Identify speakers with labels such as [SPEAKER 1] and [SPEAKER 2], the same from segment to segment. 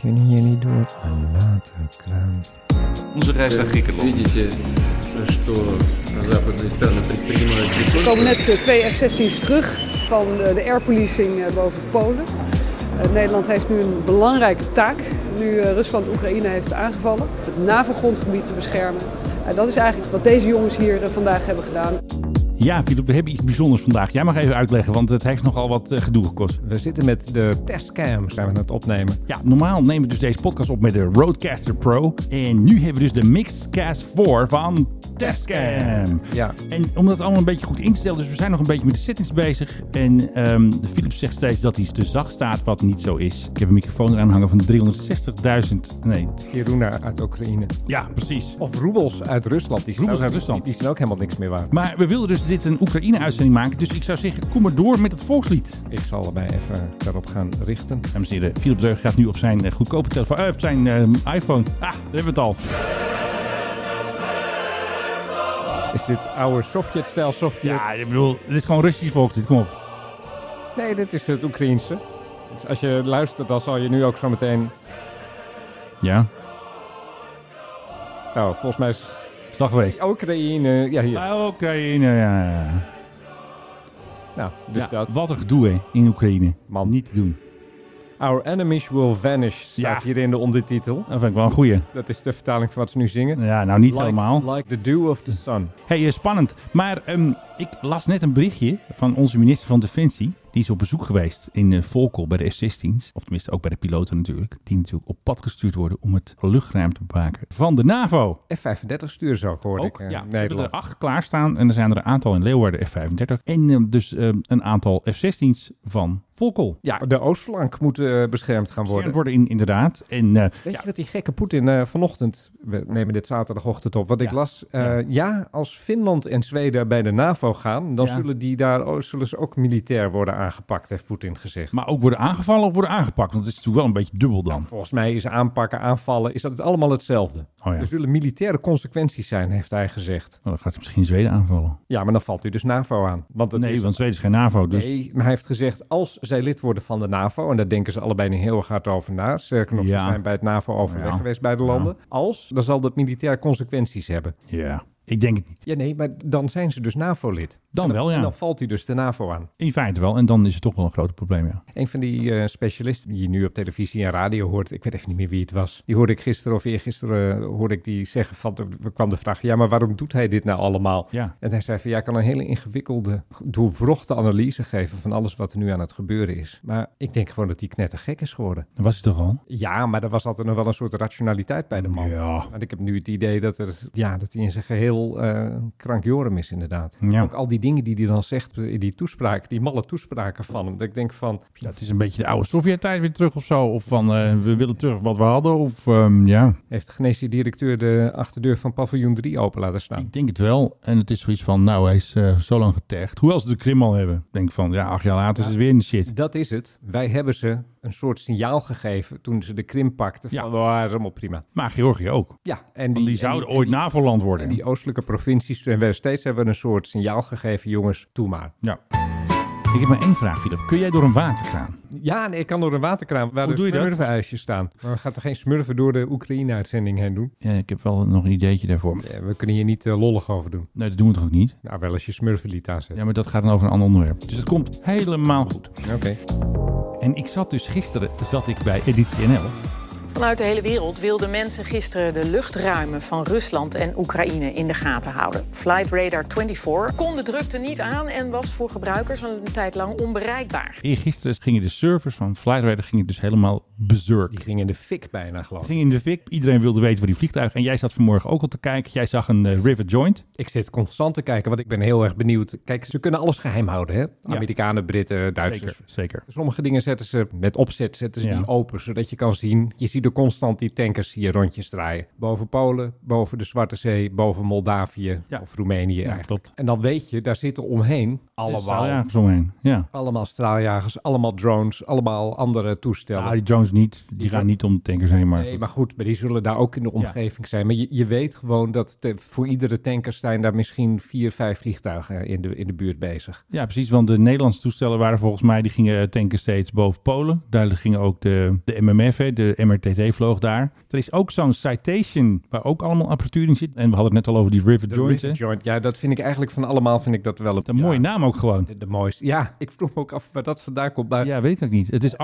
[SPEAKER 1] Kunnen jullie door een waterkraan?
[SPEAKER 2] Onze reis naar Griekenland.
[SPEAKER 3] Видите, что западные страны предпринимают не
[SPEAKER 4] Er
[SPEAKER 3] только
[SPEAKER 4] komen net eh, twee F-16's terug van eh, de air policing eh, boven Polen. Eh, Nederland heeft nu een belangrijke taak, nu eh, Rusland Oekraïne heeft aangevallen, het NAVO-grondgebied te beschermen. Eh, Dat is eigenlijk wat deze jongens hier eh, vandaag hebben gedaan.
[SPEAKER 5] Ja, Filip, we hebben iets bijzonders vandaag. Jij mag even uitleggen, want het heeft nogal wat eh, gedoe gekost.
[SPEAKER 1] We zitten met de testcams zijn we aan het opnemen.
[SPEAKER 5] Ja, normaal nemen we dus deze podcast op met de Roadcaster Pro. En nu hebben we dus de Mixcast 4 van Testcam.
[SPEAKER 1] Ja.
[SPEAKER 5] En om dat allemaal een beetje goed in te stellen, dus we zijn nog een beetje met de settings bezig. En ehm Philips zegt steeds dat hij te zacht staat, wat niet zo is. Ik heb een microfoon eraan hangen van 360.000. Nee,
[SPEAKER 1] Kiruna uit Oekraïne.
[SPEAKER 5] ja, precies.
[SPEAKER 1] Of roebels uit Rusland. Die zijn
[SPEAKER 5] Roebels
[SPEAKER 1] ook-
[SPEAKER 5] uit Rusland.
[SPEAKER 1] Die, die zijn ook helemaal niks meer waard.
[SPEAKER 5] Maar we wilden dus dit een Oekraïne-uitzending maken, dus ik zou zeggen, kom maar door met het volkslied.
[SPEAKER 1] Ik zal mij even daarop gaan richten.
[SPEAKER 5] Dames en heren, Philip Deug gaat nu op zijn eh, goedkope telefoon, eh, op zijn eh, iPhone. Ah, daar hebben we het al.
[SPEAKER 1] Is dit oude Sovjet-stijl Sovjet?
[SPEAKER 5] Ja, ik bedoel, dit is gewoon Russisch volkslied, kom op.
[SPEAKER 1] Nee, dit is het Oekraïense. Dus Als je luistert, dan zal je nu ook zo meteen...
[SPEAKER 5] Ja,
[SPEAKER 1] Nou, volgens mij is
[SPEAKER 5] is dat geweest.
[SPEAKER 1] Oekraïne... Ja, hier.
[SPEAKER 5] Ah, Oekraïne, ja. ja.
[SPEAKER 1] Nou, dus
[SPEAKER 5] Ja,
[SPEAKER 1] dat.
[SPEAKER 5] Wat een gedoe, hè, in Oekraïne.
[SPEAKER 1] Man.
[SPEAKER 5] Niet te doen.
[SPEAKER 1] Our enemies will vanish staat
[SPEAKER 5] Ja.
[SPEAKER 1] hier in de ondertitel.
[SPEAKER 5] Dat vind ik wel een goeie.
[SPEAKER 1] Dat is de vertaling van wat ze nu zingen.
[SPEAKER 5] Ja, nou niet
[SPEAKER 1] Like-
[SPEAKER 5] helemaal.
[SPEAKER 1] Like the dew of the sun.
[SPEAKER 5] hey, eh, spannend. Maar ehm, ik las net een berichtje van onze minister van Defensie. Die is op bezoek geweest in eh, Volkel bij de F-16's. Of tenminste ook bij de piloten natuurlijk. Die natuurlijk op pad gestuurd worden om het luchtruim te bewaken van de NAVO.
[SPEAKER 1] F-35 stuur zo, hoorde
[SPEAKER 5] Ook,
[SPEAKER 1] ik. eh,
[SPEAKER 5] ja. Ze hebben er
[SPEAKER 1] Nederland.
[SPEAKER 5] acht klaarstaan en er zijn er een aantal in Leeuwarden F-35. En eh, dus eh, een aantal F-16's van Volkel.
[SPEAKER 1] Ja, de oostflank moet eh, beschermd gaan worden.
[SPEAKER 5] Worden. worden in, inderdaad. En eh,
[SPEAKER 1] Weet
[SPEAKER 5] ja,
[SPEAKER 1] je dat die gekke Poetin eh, vanochtend, we nemen dit zaterdagochtend op, wat ik
[SPEAKER 5] Ja.
[SPEAKER 1] las. eh, ja. als Finland en Zweden bij de NAVO gaan, dan
[SPEAKER 5] Ja.
[SPEAKER 1] zullen, die daar, oh, zullen ze ook militair worden aangepakt, heeft Poetin gezegd.
[SPEAKER 5] maar ook worden aangevallen of worden aangepakt. Want het is natuurlijk wel een beetje dubbel dan.
[SPEAKER 1] Volgens mij is aanpakken, aanvallen, is dat het allemaal hetzelfde.
[SPEAKER 5] Oh ja,
[SPEAKER 1] Er
[SPEAKER 5] nou,
[SPEAKER 1] zullen militaire consequenties zijn, heeft hij gezegd.
[SPEAKER 5] dan gaat hij misschien Zweden aanvallen.
[SPEAKER 1] Ja, maar dan valt u dus NAVO aan. Want dat
[SPEAKER 5] nee,
[SPEAKER 1] is
[SPEAKER 5] want Zweden is geen NAVO. Dus
[SPEAKER 1] Nee, maar hij heeft gezegd, als zij lid worden van de NAVO... en daar denken ze allebei niet heel erg hard over na... sterker nog,
[SPEAKER 5] Ja.
[SPEAKER 1] ze zijn bij het NAVO-overleg
[SPEAKER 5] Ja.
[SPEAKER 1] geweest bij de landen... als, dan zal dat militair consequenties hebben.
[SPEAKER 5] ja, ik denk het niet.
[SPEAKER 1] Ja, nee, maar dan zijn ze dus NAVO-lid.
[SPEAKER 5] Dan
[SPEAKER 1] En
[SPEAKER 5] wel, ja.
[SPEAKER 1] En dan valt hij dus de NAVO aan.
[SPEAKER 5] In feite wel. En dan is het toch wel een groot probleem, ja.
[SPEAKER 1] Een van die eh, specialisten die je nu op televisie en radio hoort... ik weet even niet meer wie het was... die hoorde ik gisteren of eergisteren eh, hoorde ik die zeggen... van, er kwam de vraag, ja, maar waarom doet hij dit nou allemaal?
[SPEAKER 5] Ja,
[SPEAKER 1] En hij zei van, ja, ik kan een hele ingewikkelde, doorwrochte analyse geven van alles wat er nu aan het gebeuren is. Maar ik denk gewoon dat hij knettergek is geworden.
[SPEAKER 5] dan was hij toch al?
[SPEAKER 1] Ja, maar er was altijd nog wel een soort rationaliteit bij de man.
[SPEAKER 5] Ja.
[SPEAKER 1] Maar ik heb nu het idee dat, er, ja, dat hij in zijn geheel eh krankjorum is inderdaad.
[SPEAKER 5] Ja.
[SPEAKER 1] Ook al die dingen die hij dan zegt in die toespraak, die malle toespraken van hem. Dat ik denk van,
[SPEAKER 5] Dat is een beetje de oude Sovjet-tijd weer terug of zo. Of van, eh, we willen terug wat we hadden. Of, ehm, ja.
[SPEAKER 1] heeft de Genetische directeur de achterdeur van paviljoen 3 open laten staan?
[SPEAKER 5] Ik denk het wel. En het is zoiets van, nou, hij is eh, zo lang getergd. Hoewel ze de Krim al hebben. Ik Denk van, ja, acht jaar later is het weer in de shit.
[SPEAKER 1] Dat is het. Wij hebben ze een soort signaal gegeven toen ze de Krim pakten. Van,
[SPEAKER 5] Ja.
[SPEAKER 1] ja, oh, dat is allemaal prima.
[SPEAKER 5] Maar Georgië ook.
[SPEAKER 1] Ja, en
[SPEAKER 5] Die,
[SPEAKER 1] die,
[SPEAKER 5] die
[SPEAKER 1] en
[SPEAKER 5] zouden
[SPEAKER 1] die-
[SPEAKER 5] ooit NAVO-land
[SPEAKER 1] en
[SPEAKER 5] worden.
[SPEAKER 1] die oostelijke provincies, en we steeds hebben we een soort signaal gegeven, jongens, doe maar.
[SPEAKER 5] Ja. Ik heb maar één vraag, Philip. Kun jij door een waterkraan?
[SPEAKER 1] Ja, nee, ik kan door een waterkraan waar
[SPEAKER 5] Hoe
[SPEAKER 1] de
[SPEAKER 5] doe je dat?
[SPEAKER 1] smurfenhuisjes staan. Maar we gaan toch geen smurfen door de Oekraïne-uitzending heen doen?
[SPEAKER 5] Ja, ik heb wel nog een ideetje daarvoor.
[SPEAKER 1] Ja, we kunnen hier niet eh, lollig over doen.
[SPEAKER 5] Nee, dat doen we toch ook niet?
[SPEAKER 1] Nou, wel als je smurfenlied aanzet.
[SPEAKER 5] Ja, maar dat gaat dan over een ander onderwerp. Dus het komt helemaal goed.
[SPEAKER 1] Oké.
[SPEAKER 5] En ik zat dus gisteren zat ik bij Editie NL.
[SPEAKER 6] Vanuit de hele wereld wilden mensen gisteren de luchtruimen van Rusland en Oekraïne in de gaten houden. Flight Radar 24 kon de drukte niet aan en was voor gebruikers een tijd lang onbereikbaar.
[SPEAKER 5] Eergisteren gingen de servers van Flightradar gingen dus helemaal bezurk.
[SPEAKER 1] Die ging in de fik bijna, geloof ik.
[SPEAKER 5] Ging in de fik. Iedereen wilde weten waar die vliegtuigen. En jij zat vanmorgen ook al te kijken. Jij zag een eh, River Joint.
[SPEAKER 1] Ik zit constant te kijken, want ik ben heel erg benieuwd. Kijk, ze kunnen alles geheim houden, hè? Amerikanen, Britten, Duitsers.
[SPEAKER 5] Zeker. Zeker.
[SPEAKER 1] Sommige dingen zetten ze met opzet zetten ze
[SPEAKER 5] Ja.
[SPEAKER 1] die open, zodat je kan zien. Je ziet er constant die tankers hier rondjes draaien. Boven Polen, boven de Zwarte Zee, boven Moldavië
[SPEAKER 5] Ja.
[SPEAKER 1] of Roemenië
[SPEAKER 5] Ja,
[SPEAKER 1] eigenlijk.
[SPEAKER 5] klopt.
[SPEAKER 1] En dan weet je, daar zitten omheen Allemaal.
[SPEAKER 5] straaljagers omheen. Ja.
[SPEAKER 1] Allemaal straaljagers, allemaal drones, allemaal andere toestellen.
[SPEAKER 5] Nou, die drones niet, die, gaan niet om de tankers heen, maar...
[SPEAKER 1] Nee, maar goed, maar die zullen daar ook in de omgeving zijn. Maar je, je weet gewoon dat de- voor iedere tanker zijn daar misschien vier, vijf vliegtuigen in de, in de buurt bezig.
[SPEAKER 5] Ja, precies, want de Nederlandse toestellen waren volgens mij, die gingen tanken steeds boven Polen. Daar gingen ook de, de MMF, hè, de MRTT vloog daar. Er is ook zo'n Citation, waar ook allemaal apparatuur in zit. En we hadden het net al over die Rivet
[SPEAKER 1] De
[SPEAKER 5] Joint,
[SPEAKER 1] Rivet
[SPEAKER 5] hè.
[SPEAKER 1] Joint, ja, dat vind ik eigenlijk van allemaal vind ik dat wel het
[SPEAKER 5] Een mooie naam ook gewoon.
[SPEAKER 1] De, de mooiste. Ja, ik vroeg me ook af waar dat vandaan komt. Maar
[SPEAKER 5] Ja, weet ik ook niet. Het is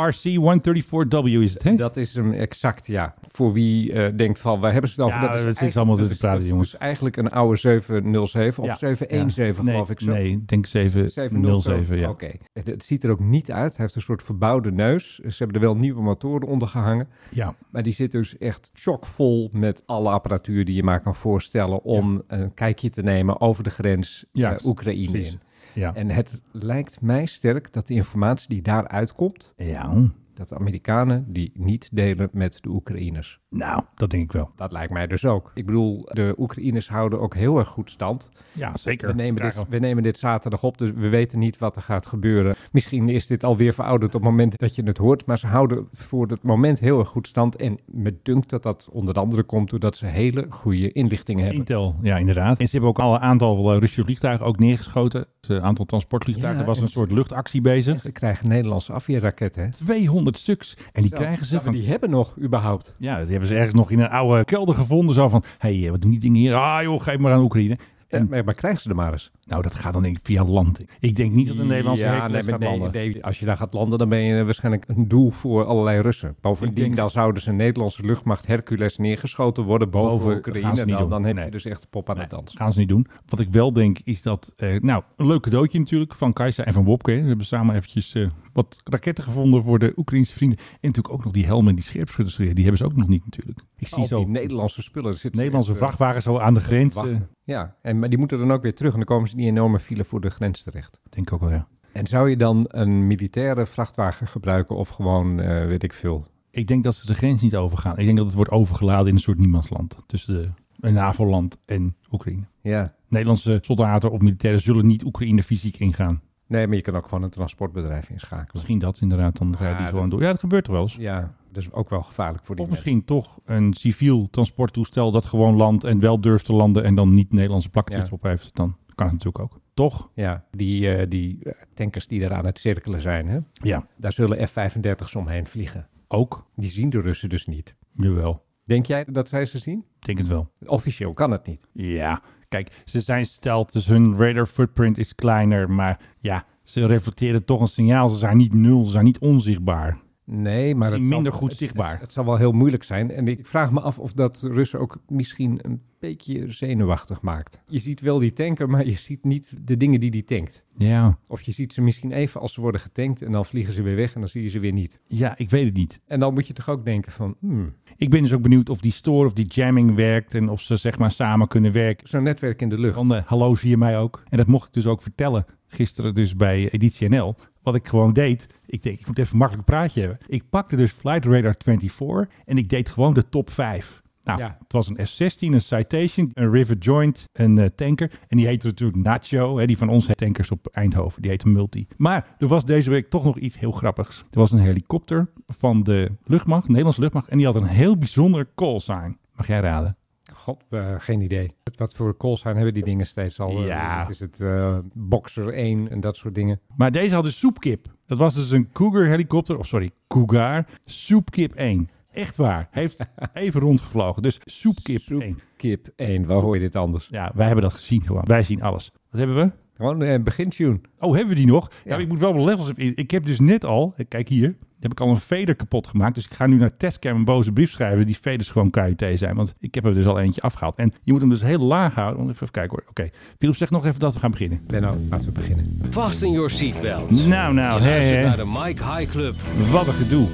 [SPEAKER 5] RC-134W is het, hè?
[SPEAKER 1] dat is hem exact, ja. Voor wie eh, denkt van, waar hebben ze het over?
[SPEAKER 5] Ja,
[SPEAKER 1] dat
[SPEAKER 5] het is
[SPEAKER 1] eigenlijk-
[SPEAKER 5] allemaal te
[SPEAKER 1] dat is-
[SPEAKER 5] praten,
[SPEAKER 1] dat is
[SPEAKER 5] jongens.
[SPEAKER 1] dus eigenlijk een oude 707 of
[SPEAKER 5] Ja.
[SPEAKER 1] 717,
[SPEAKER 5] Ja.
[SPEAKER 1] geloof
[SPEAKER 5] Nee,
[SPEAKER 1] ik zo.
[SPEAKER 5] Nee, ik denk 7,
[SPEAKER 1] 707,
[SPEAKER 5] 07, ja.
[SPEAKER 1] Oké. Het, het ziet er ook niet uit. Hij heeft een soort verbouwde neus. Ze hebben er wel nieuwe motoren onder gehangen.
[SPEAKER 5] ja.
[SPEAKER 1] Maar die zit dus echt chockvol met alle apparatuur die je maar kan voorstellen om een kijkje te nemen over de grens
[SPEAKER 5] Ja,
[SPEAKER 1] eh, Oekraïne
[SPEAKER 5] precies.
[SPEAKER 1] in.
[SPEAKER 5] Ja.
[SPEAKER 1] En het lijkt mij sterk dat de informatie die daaruit komt,
[SPEAKER 5] ja,
[SPEAKER 1] dat de Amerikanen die niet delen met de Oekraïners.
[SPEAKER 5] nou, dat denk ik wel.
[SPEAKER 1] Dat lijkt mij dus ook. Ik bedoel, de Oekraïners houden ook heel erg goed stand.
[SPEAKER 5] Ja, zeker.
[SPEAKER 1] We nemen,
[SPEAKER 5] Krijgen
[SPEAKER 1] dit, we nemen dit zaterdag op, dus we weten niet wat er gaat gebeuren. Misschien is dit alweer verouderd op het moment dat je het hoort. Maar ze houden voor het moment heel erg goed stand. En me dunkt dat dat onder andere komt doordat ze hele goede inlichtingen hebben.
[SPEAKER 5] Intel, ja inderdaad. En ze hebben ook al een aantal eh, Russische vliegtuigen ook neergeschoten. Een aantal transportvliegtuigen.
[SPEAKER 1] Ja,
[SPEAKER 5] er was
[SPEAKER 1] en
[SPEAKER 5] een
[SPEAKER 1] ze-
[SPEAKER 5] soort luchtactie bezig.
[SPEAKER 1] Ze krijgen Nederlandse afweerraketten. hè?
[SPEAKER 5] 200 stuks. En die
[SPEAKER 1] Zo.
[SPEAKER 5] krijgen ze
[SPEAKER 1] Ja, maar
[SPEAKER 5] van...
[SPEAKER 1] Die hebben nog überhaupt.
[SPEAKER 5] Ja, die hebben ze ergens nog in een oude kelder gevonden. Zo van, hé, hey, wat doen die dingen hier? Ah joh, geef maar aan Oekraïne.
[SPEAKER 1] Eh, Maar, maar krijgen ze er maar eens?
[SPEAKER 5] Nou, dat gaat dan denk ik via land. Ik denk niet dat de Nederlandse
[SPEAKER 1] ja,
[SPEAKER 5] Hercules
[SPEAKER 1] nee, maar
[SPEAKER 5] gaat
[SPEAKER 1] nee,
[SPEAKER 5] landen.
[SPEAKER 1] nee, als je daar gaat landen, dan ben je eh, waarschijnlijk een doel voor allerlei Russen. Bovendien,
[SPEAKER 5] Ik denk-
[SPEAKER 1] dan zouden ze Nederlandse luchtmacht Hercules neergeschoten worden boven,
[SPEAKER 5] Boven gaan ze
[SPEAKER 1] Oekraïne.
[SPEAKER 5] niet
[SPEAKER 1] Dan,
[SPEAKER 5] doen.
[SPEAKER 1] dan heb
[SPEAKER 5] Nee.
[SPEAKER 1] je dus echt de pop aan de dans.
[SPEAKER 5] gaan ze niet doen. Wat ik wel denk is dat, eh, nou, een leuk cadeautje natuurlijk van Kajsa en van Wopke. hè. We hebben samen eventjes eh, wat raketten gevonden voor de Oekraïnse vrienden. En natuurlijk ook nog die helmen en die scherpschutters. Die hebben ze ook nog niet natuurlijk. Ik zie
[SPEAKER 1] Al
[SPEAKER 5] zo
[SPEAKER 1] die Nederlandse spullen. Er zitten
[SPEAKER 5] Nederlandse
[SPEAKER 1] echt, eh,
[SPEAKER 5] vrachtwagens al aan de grens. eh,
[SPEAKER 1] wachten. Ja, en, maar die moeten dan ook weer terug en dan komen ze in die enorme file voor de grens terecht.
[SPEAKER 5] denk ik ook wel, ja.
[SPEAKER 1] En zou je dan een militaire vrachtwagen gebruiken of gewoon, eh, weet ik veel.
[SPEAKER 5] Ik denk dat ze de grens niet overgaan. Ik denk dat het wordt overgeladen in een soort niemandsland. Tussen de, een NAVO-land en Oekraïne.
[SPEAKER 1] Ja,
[SPEAKER 5] Nederlandse soldaten of militairen zullen niet Oekraïne fysiek ingaan.
[SPEAKER 1] nee, maar je kan ook gewoon een transportbedrijf inschakelen.
[SPEAKER 5] Misschien dat inderdaad, dan rijden die
[SPEAKER 1] Ah,
[SPEAKER 5] gewoon
[SPEAKER 1] dat-
[SPEAKER 5] door. Ja, dat gebeurt er wel eens.
[SPEAKER 1] Ja, dat is ook wel gevaarlijk voor die
[SPEAKER 5] Of misschien toch een civiel transporttoestel dat gewoon landt en wel durft te landen en dan niet Nederlandse plakjes
[SPEAKER 1] Ja.
[SPEAKER 5] op heeft. Dan kan het natuurlijk ook. Toch?
[SPEAKER 1] mensen. Ja, die, eh, die eh, tankers die daar aan het cirkelen zijn, hè,
[SPEAKER 5] Ja.
[SPEAKER 1] daar zullen F-35's omheen vliegen.
[SPEAKER 5] Ook?
[SPEAKER 1] Die zien de Russen dus niet.
[SPEAKER 5] Jawel.
[SPEAKER 1] Denk jij dat zij ze zien?
[SPEAKER 5] Ik Denk het wel.
[SPEAKER 1] Officieel kan het niet.
[SPEAKER 5] Ja. Kijk, ze zijn stelt, dus hun radar footprint is kleiner. Maar ja, ze reflecteren toch een signaal. Ze zijn niet nul, ze zijn niet onzichtbaar.
[SPEAKER 1] Nee, maar het
[SPEAKER 5] Misschien minder
[SPEAKER 1] zal,
[SPEAKER 5] goed
[SPEAKER 1] het-
[SPEAKER 5] zichtbaar.
[SPEAKER 1] Het, het zal wel heel moeilijk zijn. En ik vraag me af of dat Russen ook misschien een beetje zenuwachtig maakt. Je ziet wel die tanker, maar je ziet niet de dingen die die tankt.
[SPEAKER 5] Ja.
[SPEAKER 1] Of je ziet ze misschien even als ze worden getankt en dan vliegen ze weer weg en dan zie je ze weer niet.
[SPEAKER 5] Ja, ik weet het niet.
[SPEAKER 1] En dan moet je toch ook denken van, hmm,
[SPEAKER 5] Ik ben dus ook benieuwd of die store of die jamming werkt en of ze zeg maar samen kunnen werken.
[SPEAKER 1] zo'n netwerk in de lucht.
[SPEAKER 5] Van de, eh, hallo, zie je mij ook? En dat mocht ik dus ook vertellen gisteren dus bij Editie NL. Wat ik gewoon deed, ik denk, ik moet even een makkelijk praatje hebben. Ik pakte dus Flight Radar 24 en ik deed gewoon de top 5. Nou,
[SPEAKER 1] Ja.
[SPEAKER 5] het was een F-16, een Citation, een River Joint, een eh, tanker. En die heette natuurlijk Nacho, hè, die van ons tankers op Eindhoven, die heette Multi. Maar er was deze week toch nog iets heel grappigs. Er was een helikopter van de luchtmacht, Nederlandse luchtmacht, en die had een heel bijzonder callsign. Mag jij raden?
[SPEAKER 1] God, eh, geen idee. Wat voor calls zijn hebben die dingen steeds al? eh,
[SPEAKER 5] Ja.
[SPEAKER 1] Is het eh, Boxer 1 en dat soort dingen?
[SPEAKER 5] Maar deze had een soepkip. Dat was dus een Cougar helikopter, of sorry, Cougar soepkip 1. Echt waar. Heeft even rondgevlogen. Dus soepkip
[SPEAKER 1] Soep.
[SPEAKER 5] 1.
[SPEAKER 1] Kip 1, waar hoor je dit anders?
[SPEAKER 5] Ja, wij hebben dat gezien gewoon. Wij zien alles. Wat hebben we?
[SPEAKER 1] Gewoon een begintune.
[SPEAKER 5] Oh, hebben we die nog? Ja,
[SPEAKER 1] Ja.
[SPEAKER 5] ik moet wel mijn levels... in- Ik heb dus net al, kijk hier, heb ik al een veder kapot gemaakt. Dus ik ga nu naar testcam een boze brief schrijven. Die veders gewoon KUT zijn, want ik heb er dus al eentje afgehaald. En je moet hem dus heel laag houden. Want even kijken hoor. Oké, Philip, zeg nog even dat we gaan beginnen.
[SPEAKER 1] Benno, laten we beginnen.
[SPEAKER 7] Fasten your seatbelts.
[SPEAKER 5] Nou, nou,
[SPEAKER 7] Je
[SPEAKER 5] hey,
[SPEAKER 7] luistert
[SPEAKER 5] hey.
[SPEAKER 7] naar de Mike High Club.
[SPEAKER 5] Wat een gedoe.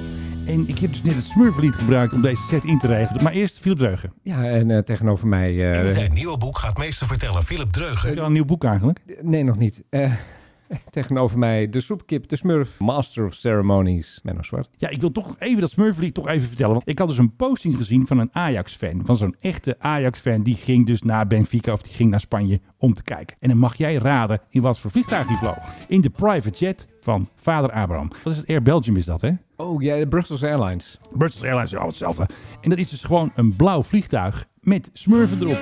[SPEAKER 5] En ik heb dus net het smurflied gebruikt om deze set in te regelen. Maar eerst Philip Dreugen.
[SPEAKER 1] Ja, en eh, tegenover mij... eh,
[SPEAKER 8] In zijn nieuwe boek gaat meester vertellen Philip Dreugen
[SPEAKER 5] Heb je al een nieuw boek eigenlijk?
[SPEAKER 1] Nee, nog niet. Eh, Tegenover mij de soepkip, de smurf, master of ceremonies, Menno Zwart.
[SPEAKER 5] Ja, ik wil toch even dat Smurflied toch even vertellen. Want ik had dus een posting gezien van een Ajax-fan. Van zo'n echte Ajax-fan. Die ging dus naar Benfica of die ging naar Spanje om te kijken. En dan mag jij raden in wat voor vliegtuig hij vloog. In de private jet van vader Abraham. Dat is het Air Belgium is dat, hè?
[SPEAKER 1] Oh ja, de Brussels Airlines.
[SPEAKER 5] Brussels Airlines, ja, hetzelfde. En dat is dus gewoon een blauw vliegtuig met smurfen erop.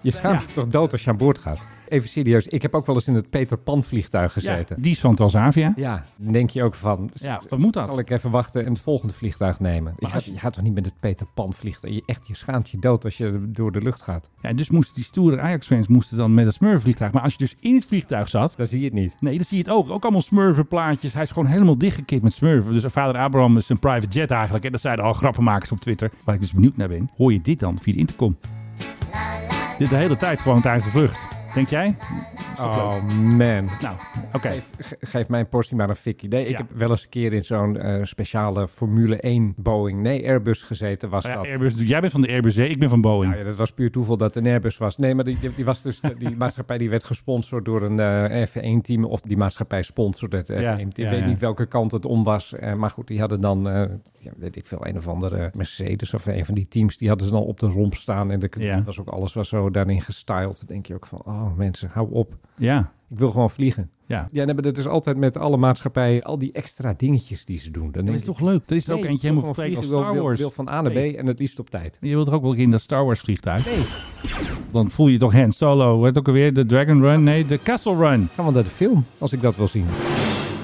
[SPEAKER 1] Je schaamt je toch dood als je aan boord gaat? Even serieus, ik heb ook wel eens in het Peter Pan vliegtuig
[SPEAKER 5] Ja,
[SPEAKER 1] gezeten. Ja.
[SPEAKER 5] die is van Transavia.
[SPEAKER 1] dan denk je ook van, s-
[SPEAKER 5] Ja, wat moet dat?
[SPEAKER 1] zal ik even wachten en het volgende vliegtuig nemen? Je
[SPEAKER 5] als
[SPEAKER 1] gaat,
[SPEAKER 5] je-
[SPEAKER 1] je gaat toch niet met het Peter Pan vliegtuig? Je, echt, je schaamt je dood als je door de lucht gaat.
[SPEAKER 5] Ja, dus moesten die stoere Ajax-fans moesten dan met het smurfvliegtuig. Maar als je dus in het vliegtuig zat...
[SPEAKER 1] Dan zie je het niet.
[SPEAKER 5] Nee, dan zie je het ook. Ook allemaal smurfenplaatjes. Hij is gewoon helemaal dichtgekipt met smurfen. Dus vader Abraham is een private jet eigenlijk. En dat zeiden al grappenmakers op Twitter. Waar ik dus benieuwd naar ben. Hoor je dit dan via de intercom? Dit de hele tijd gewoon tijdens de vlucht. Denk jij?
[SPEAKER 1] Oh man.
[SPEAKER 5] Nou, oké.
[SPEAKER 1] Ge- Geef mijn portie maar een fikkie. Nee, ik
[SPEAKER 5] Ja.
[SPEAKER 1] heb wel eens een keer in zo'n eh, speciale Formule 1 Boeing, nee Airbus gezeten was
[SPEAKER 5] Oh Ja,
[SPEAKER 1] dat.
[SPEAKER 5] Airbus, jij bent van de Airbus, hè? ik ben van Boeing.
[SPEAKER 1] Nou ja, dat was puur toeval dat het een Airbus was. Nee, maar die, die, die was dus, die maatschappij die werd gesponsord door een eh, F1-team. Of die maatschappij sponsorde het F1-team.
[SPEAKER 5] Ja,
[SPEAKER 1] ik
[SPEAKER 5] ja,
[SPEAKER 1] weet
[SPEAKER 5] ja.
[SPEAKER 1] niet welke kant het om was. Eh, maar goed, die hadden dan, eh, ja, weet ik veel, een of andere Mercedes of een van die teams. Die hadden ze dan op de romp staan. En de,
[SPEAKER 5] Ja.
[SPEAKER 1] was ook, alles was zo daarin gestyled. Dan denk je ook van, oh mensen, hou op.
[SPEAKER 5] Ja,
[SPEAKER 1] Ik wil gewoon vliegen.
[SPEAKER 5] ja.
[SPEAKER 1] Ja, en hebben dat dus altijd met alle maatschappijen, al die extra dingetjes die ze doen. Dan
[SPEAKER 5] Dat
[SPEAKER 1] denk
[SPEAKER 5] is
[SPEAKER 1] ik,
[SPEAKER 5] toch leuk? Er is er ook
[SPEAKER 1] nee,
[SPEAKER 5] eentje
[SPEAKER 1] ik wil gewoon
[SPEAKER 5] helemaal vergeleken
[SPEAKER 1] vliegen.
[SPEAKER 5] als
[SPEAKER 1] Ik wil-
[SPEAKER 5] Star
[SPEAKER 1] wil-
[SPEAKER 5] Wars.
[SPEAKER 1] wil van A naar B
[SPEAKER 5] Nee.
[SPEAKER 1] en het liefst op tijd.
[SPEAKER 5] Je wilt er ook wel in dat Star Wars vliegtuig? Dan voel je toch Han Solo, hoe heet het ook alweer? De Dragon Run? Nee, de Castle Run.
[SPEAKER 1] Gaan we naar de film, als ik dat wil zien.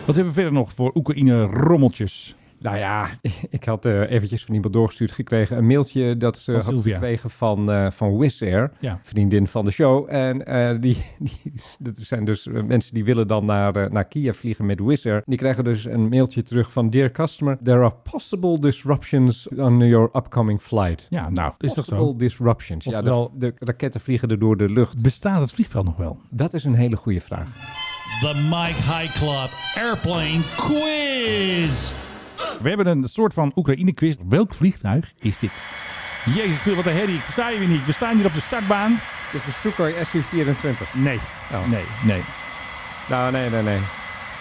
[SPEAKER 5] Wat hebben we verder nog voor Oekraïne rommeltjes?
[SPEAKER 1] Nou ja, ik had eh, eventjes van iemand doorgestuurd gekregen een mailtje dat ze
[SPEAKER 5] Van
[SPEAKER 1] had
[SPEAKER 5] Sylvia.
[SPEAKER 1] gekregen van, eh van Wizz Air,
[SPEAKER 5] Ja.
[SPEAKER 1] vriendin van de show. En eh, die, die, dat zijn dus eh, mensen die willen dan naar, eh, naar Kiev vliegen met Wizz Air. Die krijgen dus een mailtje terug van Dear Customer, there are possible disruptions on your upcoming flight.
[SPEAKER 5] Ja, nou, is toch
[SPEAKER 1] Possible
[SPEAKER 5] zo?
[SPEAKER 1] disruptions.
[SPEAKER 5] Oftewel-
[SPEAKER 1] Ja, de, de raketten vliegen er door de lucht.
[SPEAKER 5] Bestaat het vliegveld nog wel?
[SPEAKER 1] Dat is een hele goede vraag.
[SPEAKER 8] The Mike High Club Airplane Quiz.
[SPEAKER 5] We hebben een soort van Oekraïne-quiz. Welk vliegtuig is dit? Jezus, Phil, wat een herrie. Ik versta je weer niet. We staan hier op de startbaan.
[SPEAKER 1] Dus een Sukhoi SU-24.
[SPEAKER 5] Nee, nee, nee.
[SPEAKER 1] Nou, nee, nee, nee.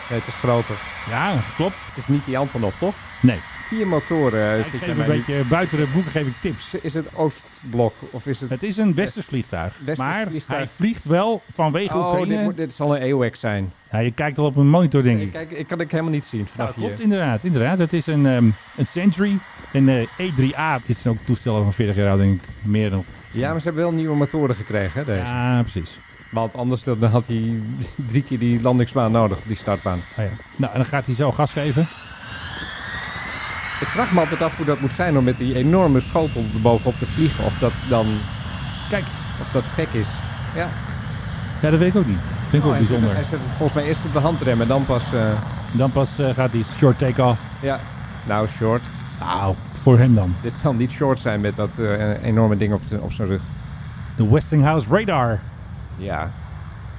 [SPEAKER 1] Nee, het is groter.
[SPEAKER 5] Ja, klopt.
[SPEAKER 1] Het is niet die Antonov, toch?
[SPEAKER 5] Nee.
[SPEAKER 1] Vier motoren. eh,
[SPEAKER 5] Ik
[SPEAKER 1] zit
[SPEAKER 5] geef
[SPEAKER 1] bij
[SPEAKER 5] een
[SPEAKER 1] mij nu.
[SPEAKER 5] beetje buiten de boek geef ik tips.
[SPEAKER 1] Is het Oostblok of is het...
[SPEAKER 5] Het is een westers vliegtuig.
[SPEAKER 1] Westers
[SPEAKER 5] maar
[SPEAKER 1] vliegtuig.
[SPEAKER 5] hij vliegt wel vanwege
[SPEAKER 1] oh,
[SPEAKER 5] Oekraïne.
[SPEAKER 1] dit, moet- dit zal een EOX zijn.
[SPEAKER 5] Ja, je kijkt al op een monitor, denk ik.
[SPEAKER 1] Kijk, ik kan het helemaal niet zien
[SPEAKER 5] Nou,
[SPEAKER 1] vanaf
[SPEAKER 5] klopt
[SPEAKER 1] hier.
[SPEAKER 5] inderdaad, inderdaad. Het is een, ehm, een Century, een eh, E3A. Dit zijn ook toestellen van 40 jaar oud, denk ik. Meer dan.
[SPEAKER 1] Ja, maar ze hebben wel nieuwe motoren gekregen, hè, deze.
[SPEAKER 5] Ja, precies.
[SPEAKER 1] Want anders dan had hij drie keer die landingsbaan nodig, die startbaan.
[SPEAKER 5] Ah, ja. Nou, en dan gaat hij zo gas geven.
[SPEAKER 1] Ik vraag me altijd af hoe dat moet zijn om met die enorme schotel erbovenop te vliegen. Of dat dan...
[SPEAKER 5] Kijk. Oh,
[SPEAKER 1] Of dat gek is. Ja.
[SPEAKER 5] Ja, dat weet ik ook niet. Dat vind ik
[SPEAKER 1] Oh,
[SPEAKER 5] ook
[SPEAKER 1] hij, zet, hij
[SPEAKER 5] bijzonder.
[SPEAKER 1] zet het volgens mij eerst op de handrem en dan pas... eh,
[SPEAKER 5] Dan pas eh, gaat hij short take-off.
[SPEAKER 1] ja. Nou, short.
[SPEAKER 5] Nou, voor hem dan.
[SPEAKER 1] Dit zal niet short zijn met dat eh, enorme ding op, de- op zijn rug.
[SPEAKER 5] De Westinghouse Radar.
[SPEAKER 1] Ja.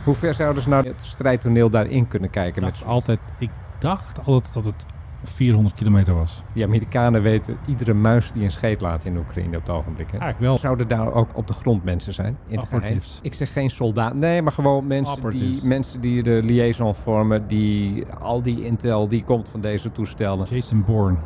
[SPEAKER 1] Hoe ver zouden ze nou het strijdtoneel daarin kunnen kijken?
[SPEAKER 5] Ik
[SPEAKER 1] Met
[SPEAKER 5] dacht
[SPEAKER 1] zo'n-
[SPEAKER 5] altijd, ik dacht altijd dat het 400 kilometer was.
[SPEAKER 1] die Amerikanen weten iedere muis die een scheet laat in Oekraïne op het ogenblik. Hè?
[SPEAKER 5] Eigenlijk wel.
[SPEAKER 1] Zouden daar ook op de grond mensen zijn? In het geheim?
[SPEAKER 5] Operatives.
[SPEAKER 1] Ik zeg geen soldaat. Nee, maar gewoon mensen
[SPEAKER 5] Operatives.
[SPEAKER 1] die, mensen die de liaison vormen. Die al die intel die komt van deze toestellen.
[SPEAKER 5] Jason Bourne.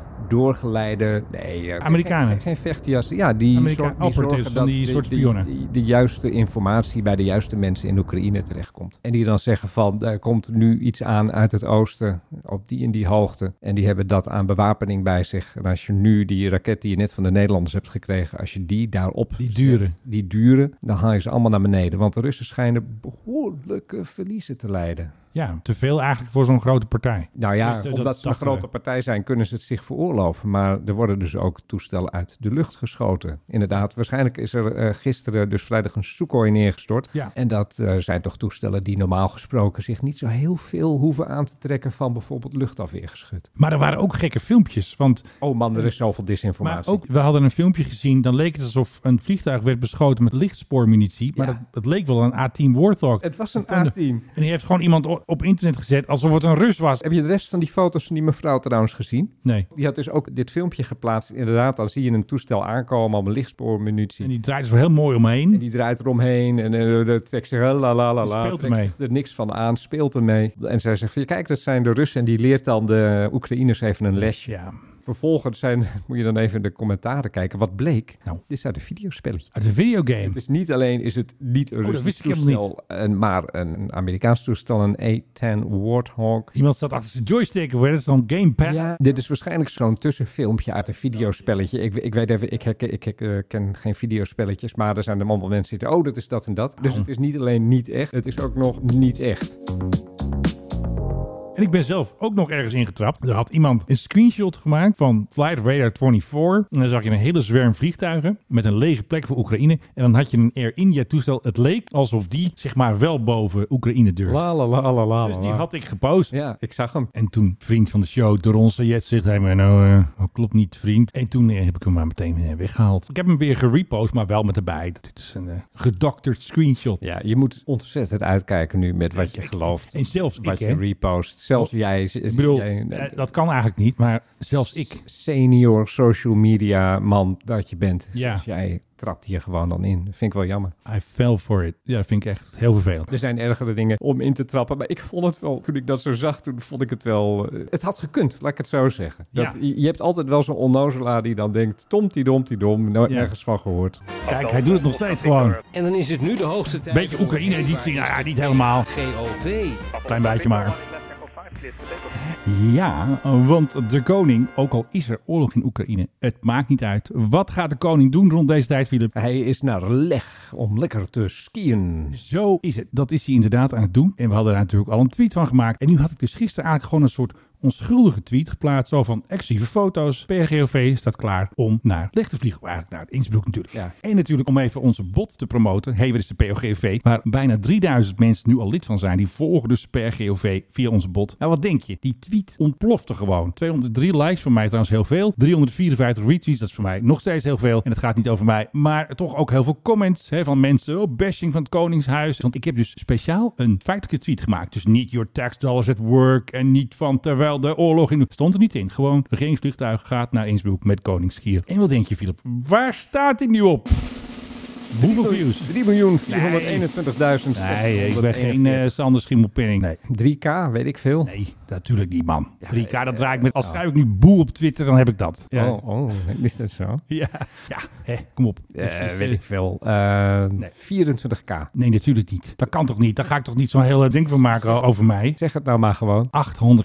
[SPEAKER 1] Doorgeleide. Nee, eh,
[SPEAKER 5] Amerikanen.
[SPEAKER 1] Geen, geen vechtjassen. Ja, die,
[SPEAKER 5] Amerika-
[SPEAKER 1] zorg- die
[SPEAKER 5] operatives
[SPEAKER 1] zorgen
[SPEAKER 5] van
[SPEAKER 1] dat
[SPEAKER 5] die
[SPEAKER 1] de,
[SPEAKER 5] soort spionnen.
[SPEAKER 1] die- de juiste informatie bij de juiste mensen in Oekraïne terechtkomt. En die dan zeggen van, er komt nu iets aan uit het oosten, op die en die hoogte. En die hebben dat aan bewapening bij zich. En als je nu die raket die je net van de Nederlanders hebt gekregen, als je die daarop...
[SPEAKER 5] Die dure.
[SPEAKER 1] zet, Die duren, dan haal je ze allemaal naar beneden. Want de Russen schijnen behoorlijke verliezen te lijden.
[SPEAKER 5] Ja, te veel eigenlijk voor zo'n grote partij.
[SPEAKER 1] Nou ja,
[SPEAKER 5] Dus, eh, dat
[SPEAKER 1] omdat ze een
[SPEAKER 5] dachten we.
[SPEAKER 1] grote partij zijn, kunnen ze het zich veroorloven. Maar er worden dus ook toestellen uit de lucht geschoten. Inderdaad, waarschijnlijk is er eh, gisteren, dus vrijdag, een Sukhoi neergestort.
[SPEAKER 5] Ja.
[SPEAKER 1] En dat eh, zijn toch toestellen die normaal gesproken zich niet zo heel veel hoeven aan te trekken van bijvoorbeeld luchtafweergeschut.
[SPEAKER 5] Maar er waren ook gekke filmpjes, want
[SPEAKER 1] Oh man, er is zoveel
[SPEAKER 5] Maar
[SPEAKER 1] disinformatie.
[SPEAKER 5] ook, we hadden een filmpje gezien, dan leek het alsof een vliegtuig werd beschoten met lichtspoormunitie. Maar
[SPEAKER 1] Ja.
[SPEAKER 5] dat, het leek wel een A-10 Warthog.
[SPEAKER 1] Het was een
[SPEAKER 5] Van de-
[SPEAKER 1] A-team.
[SPEAKER 5] En die heeft gewoon iemand o- op internet gezet alsof het een Rus was.
[SPEAKER 1] Heb je de rest van die foto's van die mevrouw trouwens gezien?
[SPEAKER 5] Nee.
[SPEAKER 1] Die had dus ook dit filmpje geplaatst. Inderdaad, dan zie je een toestel aankomen, allemaal lichtspoormunitie.
[SPEAKER 5] En die draait er wel heel mooi omheen.
[SPEAKER 1] En die draait eromheen en eh, de trekt zich eh, la la la la.
[SPEAKER 5] Speelt
[SPEAKER 1] trekt
[SPEAKER 5] ermee.
[SPEAKER 1] er niks van aan, speelt ermee. En zij zegt, van, ja, kijk, dat zijn de Russen. En die leert dan de Oekraïners even een lesje.
[SPEAKER 5] Ja,
[SPEAKER 1] Vervolgens zijn, moet je dan even in de commentaren kijken. Wat bleek?
[SPEAKER 5] Nou.
[SPEAKER 1] Dit is uit een videospelletje.
[SPEAKER 5] uit een videogame.
[SPEAKER 1] Het is niet alleen is het niet een
[SPEAKER 5] Oh, dat
[SPEAKER 1] Russisch
[SPEAKER 5] wist ik helemaal
[SPEAKER 1] toestel, en, maar een Amerikaans toestel, een A-10 Warthog.
[SPEAKER 5] Iemand staat achter zijn joystick of dat is dan gamepad.
[SPEAKER 1] Ja, dit is waarschijnlijk zo'n tussenfilmpje uit een videospelletje. Ik, ik weet even, ik, herken- ik, eh, ken geen videospelletjes, maar er zijn er allemaal mensen die oh, dat is dat en dat. Dus het is niet alleen niet echt, het is ook nog niet echt.
[SPEAKER 5] En ik ben zelf ook nog ergens ingetrapt. Er had iemand een screenshot gemaakt van Flight Radar 24. En dan zag je een hele zwerm vliegtuigen met een lege plek voor Oekraïne. En dan had je een Air India toestel. Het leek alsof die zeg maar wel boven Oekraïne durfde.
[SPEAKER 1] La la la la la.
[SPEAKER 5] Dus
[SPEAKER 1] la,
[SPEAKER 5] die
[SPEAKER 1] la.
[SPEAKER 5] had ik gepost.
[SPEAKER 1] Ja, ik zag hem.
[SPEAKER 5] En toen vriend van de show, Doron Sayed, zegt hij me nou, eh, dat klopt niet vriend. En toen eh, heb ik hem maar meteen eh, weggehaald. Ik heb hem weer gerepost, maar wel met erbij. Dit is een eh, gedokterd screenshot.
[SPEAKER 1] Ja, je moet ontzettend uitkijken nu met wat je gelooft.
[SPEAKER 5] En zelfs ik,
[SPEAKER 1] wat je
[SPEAKER 5] hè. Oh.
[SPEAKER 1] repost. Zelfs jij. z-
[SPEAKER 5] Ik bedoel,
[SPEAKER 1] jij-
[SPEAKER 5] eh, dat kan eigenlijk niet, maar zelfs ik.
[SPEAKER 1] senior social media man dat je bent.
[SPEAKER 5] Ja.
[SPEAKER 1] Dus jij trapt hier gewoon dan in. Dat vind ik wel jammer.
[SPEAKER 5] I fell for it. Ja, dat vind ik echt heel vervelend.
[SPEAKER 1] Er zijn ergere dingen om in te trappen. Maar ik vond het wel, toen ik dat zo zag, toen vond ik het wel... eh, Het had gekund, laat ik het zo zeggen. Dat,
[SPEAKER 5] Ja.
[SPEAKER 1] je, je hebt altijd wel zo'n onnozelaar die dan denkt... Tomtie dom, die dom, nooit
[SPEAKER 5] Ja.
[SPEAKER 1] ergens van gehoord.
[SPEAKER 5] Kijk, hij doet het nog steeds gewoon.
[SPEAKER 7] En dan is het nu de hoogste tijd.
[SPEAKER 5] Beetje
[SPEAKER 7] voor
[SPEAKER 5] Oekraïne
[SPEAKER 7] Eva
[SPEAKER 5] editie. Nou
[SPEAKER 7] is
[SPEAKER 5] ja,
[SPEAKER 7] de
[SPEAKER 5] niet helemaal.
[SPEAKER 7] GOV.
[SPEAKER 5] Klein beetje maar. Ja, want de koning, ook al is er oorlog in Oekraïne, het maakt niet uit. Wat gaat de koning doen rond deze tijd, Philip?
[SPEAKER 1] Hij is naar Leg om lekker te skiën.
[SPEAKER 5] Zo is het. Dat is hij inderdaad aan het doen. En we hadden daar natuurlijk al een tweet van gemaakt. En nu had ik dus gisteren eigenlijk gewoon een soort onschuldige tweet geplaatst. Zo van exclusieve foto's. PRGOV staat klaar om naar Leg te vliegen. Of Eigenlijk naar Innsbruck natuurlijk.
[SPEAKER 1] Ja.
[SPEAKER 5] En natuurlijk om even onze bot te promoten. Hey, wat is de PRGOV? Waar bijna 3000 mensen nu al lid van zijn. Die volgen dus de PRGOV via onze bot. Nou, wat denk je? Die tweet ontplofte gewoon. 203 likes voor mij trouwens heel veel. 354 retweets, dat is voor mij nog steeds heel veel. En het gaat niet over mij, maar toch ook heel veel comments hè, van mensen. Oh, bashing van het Koningshuis. Want ik heb dus speciaal een feitelijke tweet gemaakt. Dus niet your tax dollars at work en niet van terwijl de oorlog in... Stond er niet in. Gewoon regeringsvliegtuig gaat naar Innsbruck met koningsgier. En wat denk je, Philip? Waar staat hij nu op? Hoeveel views?
[SPEAKER 1] 3.421.000. Nee,
[SPEAKER 5] Nee, ik ben geen eh, Sander Schimmelpenning. Nee.
[SPEAKER 1] 3K, weet ik veel.
[SPEAKER 5] Nee, natuurlijk niet, man. 3K, dat draai ik met... Als schrijf ik nu boe op Twitter, dan heb ik dat. Ja,
[SPEAKER 1] Oh, oh, is dat zo?
[SPEAKER 5] ja. ja. Hè, kom op.
[SPEAKER 1] Eh,
[SPEAKER 5] Dus, dus,
[SPEAKER 1] weet
[SPEAKER 5] eh,
[SPEAKER 1] ik veel. Eh,
[SPEAKER 5] Nee.
[SPEAKER 1] 24k.
[SPEAKER 5] Nee, natuurlijk niet. Dat kan toch niet? Daar ga ik toch niet zo'n heel eh, ding van maken over mij?
[SPEAKER 1] Zeg het nou maar gewoon.
[SPEAKER 5] 835.000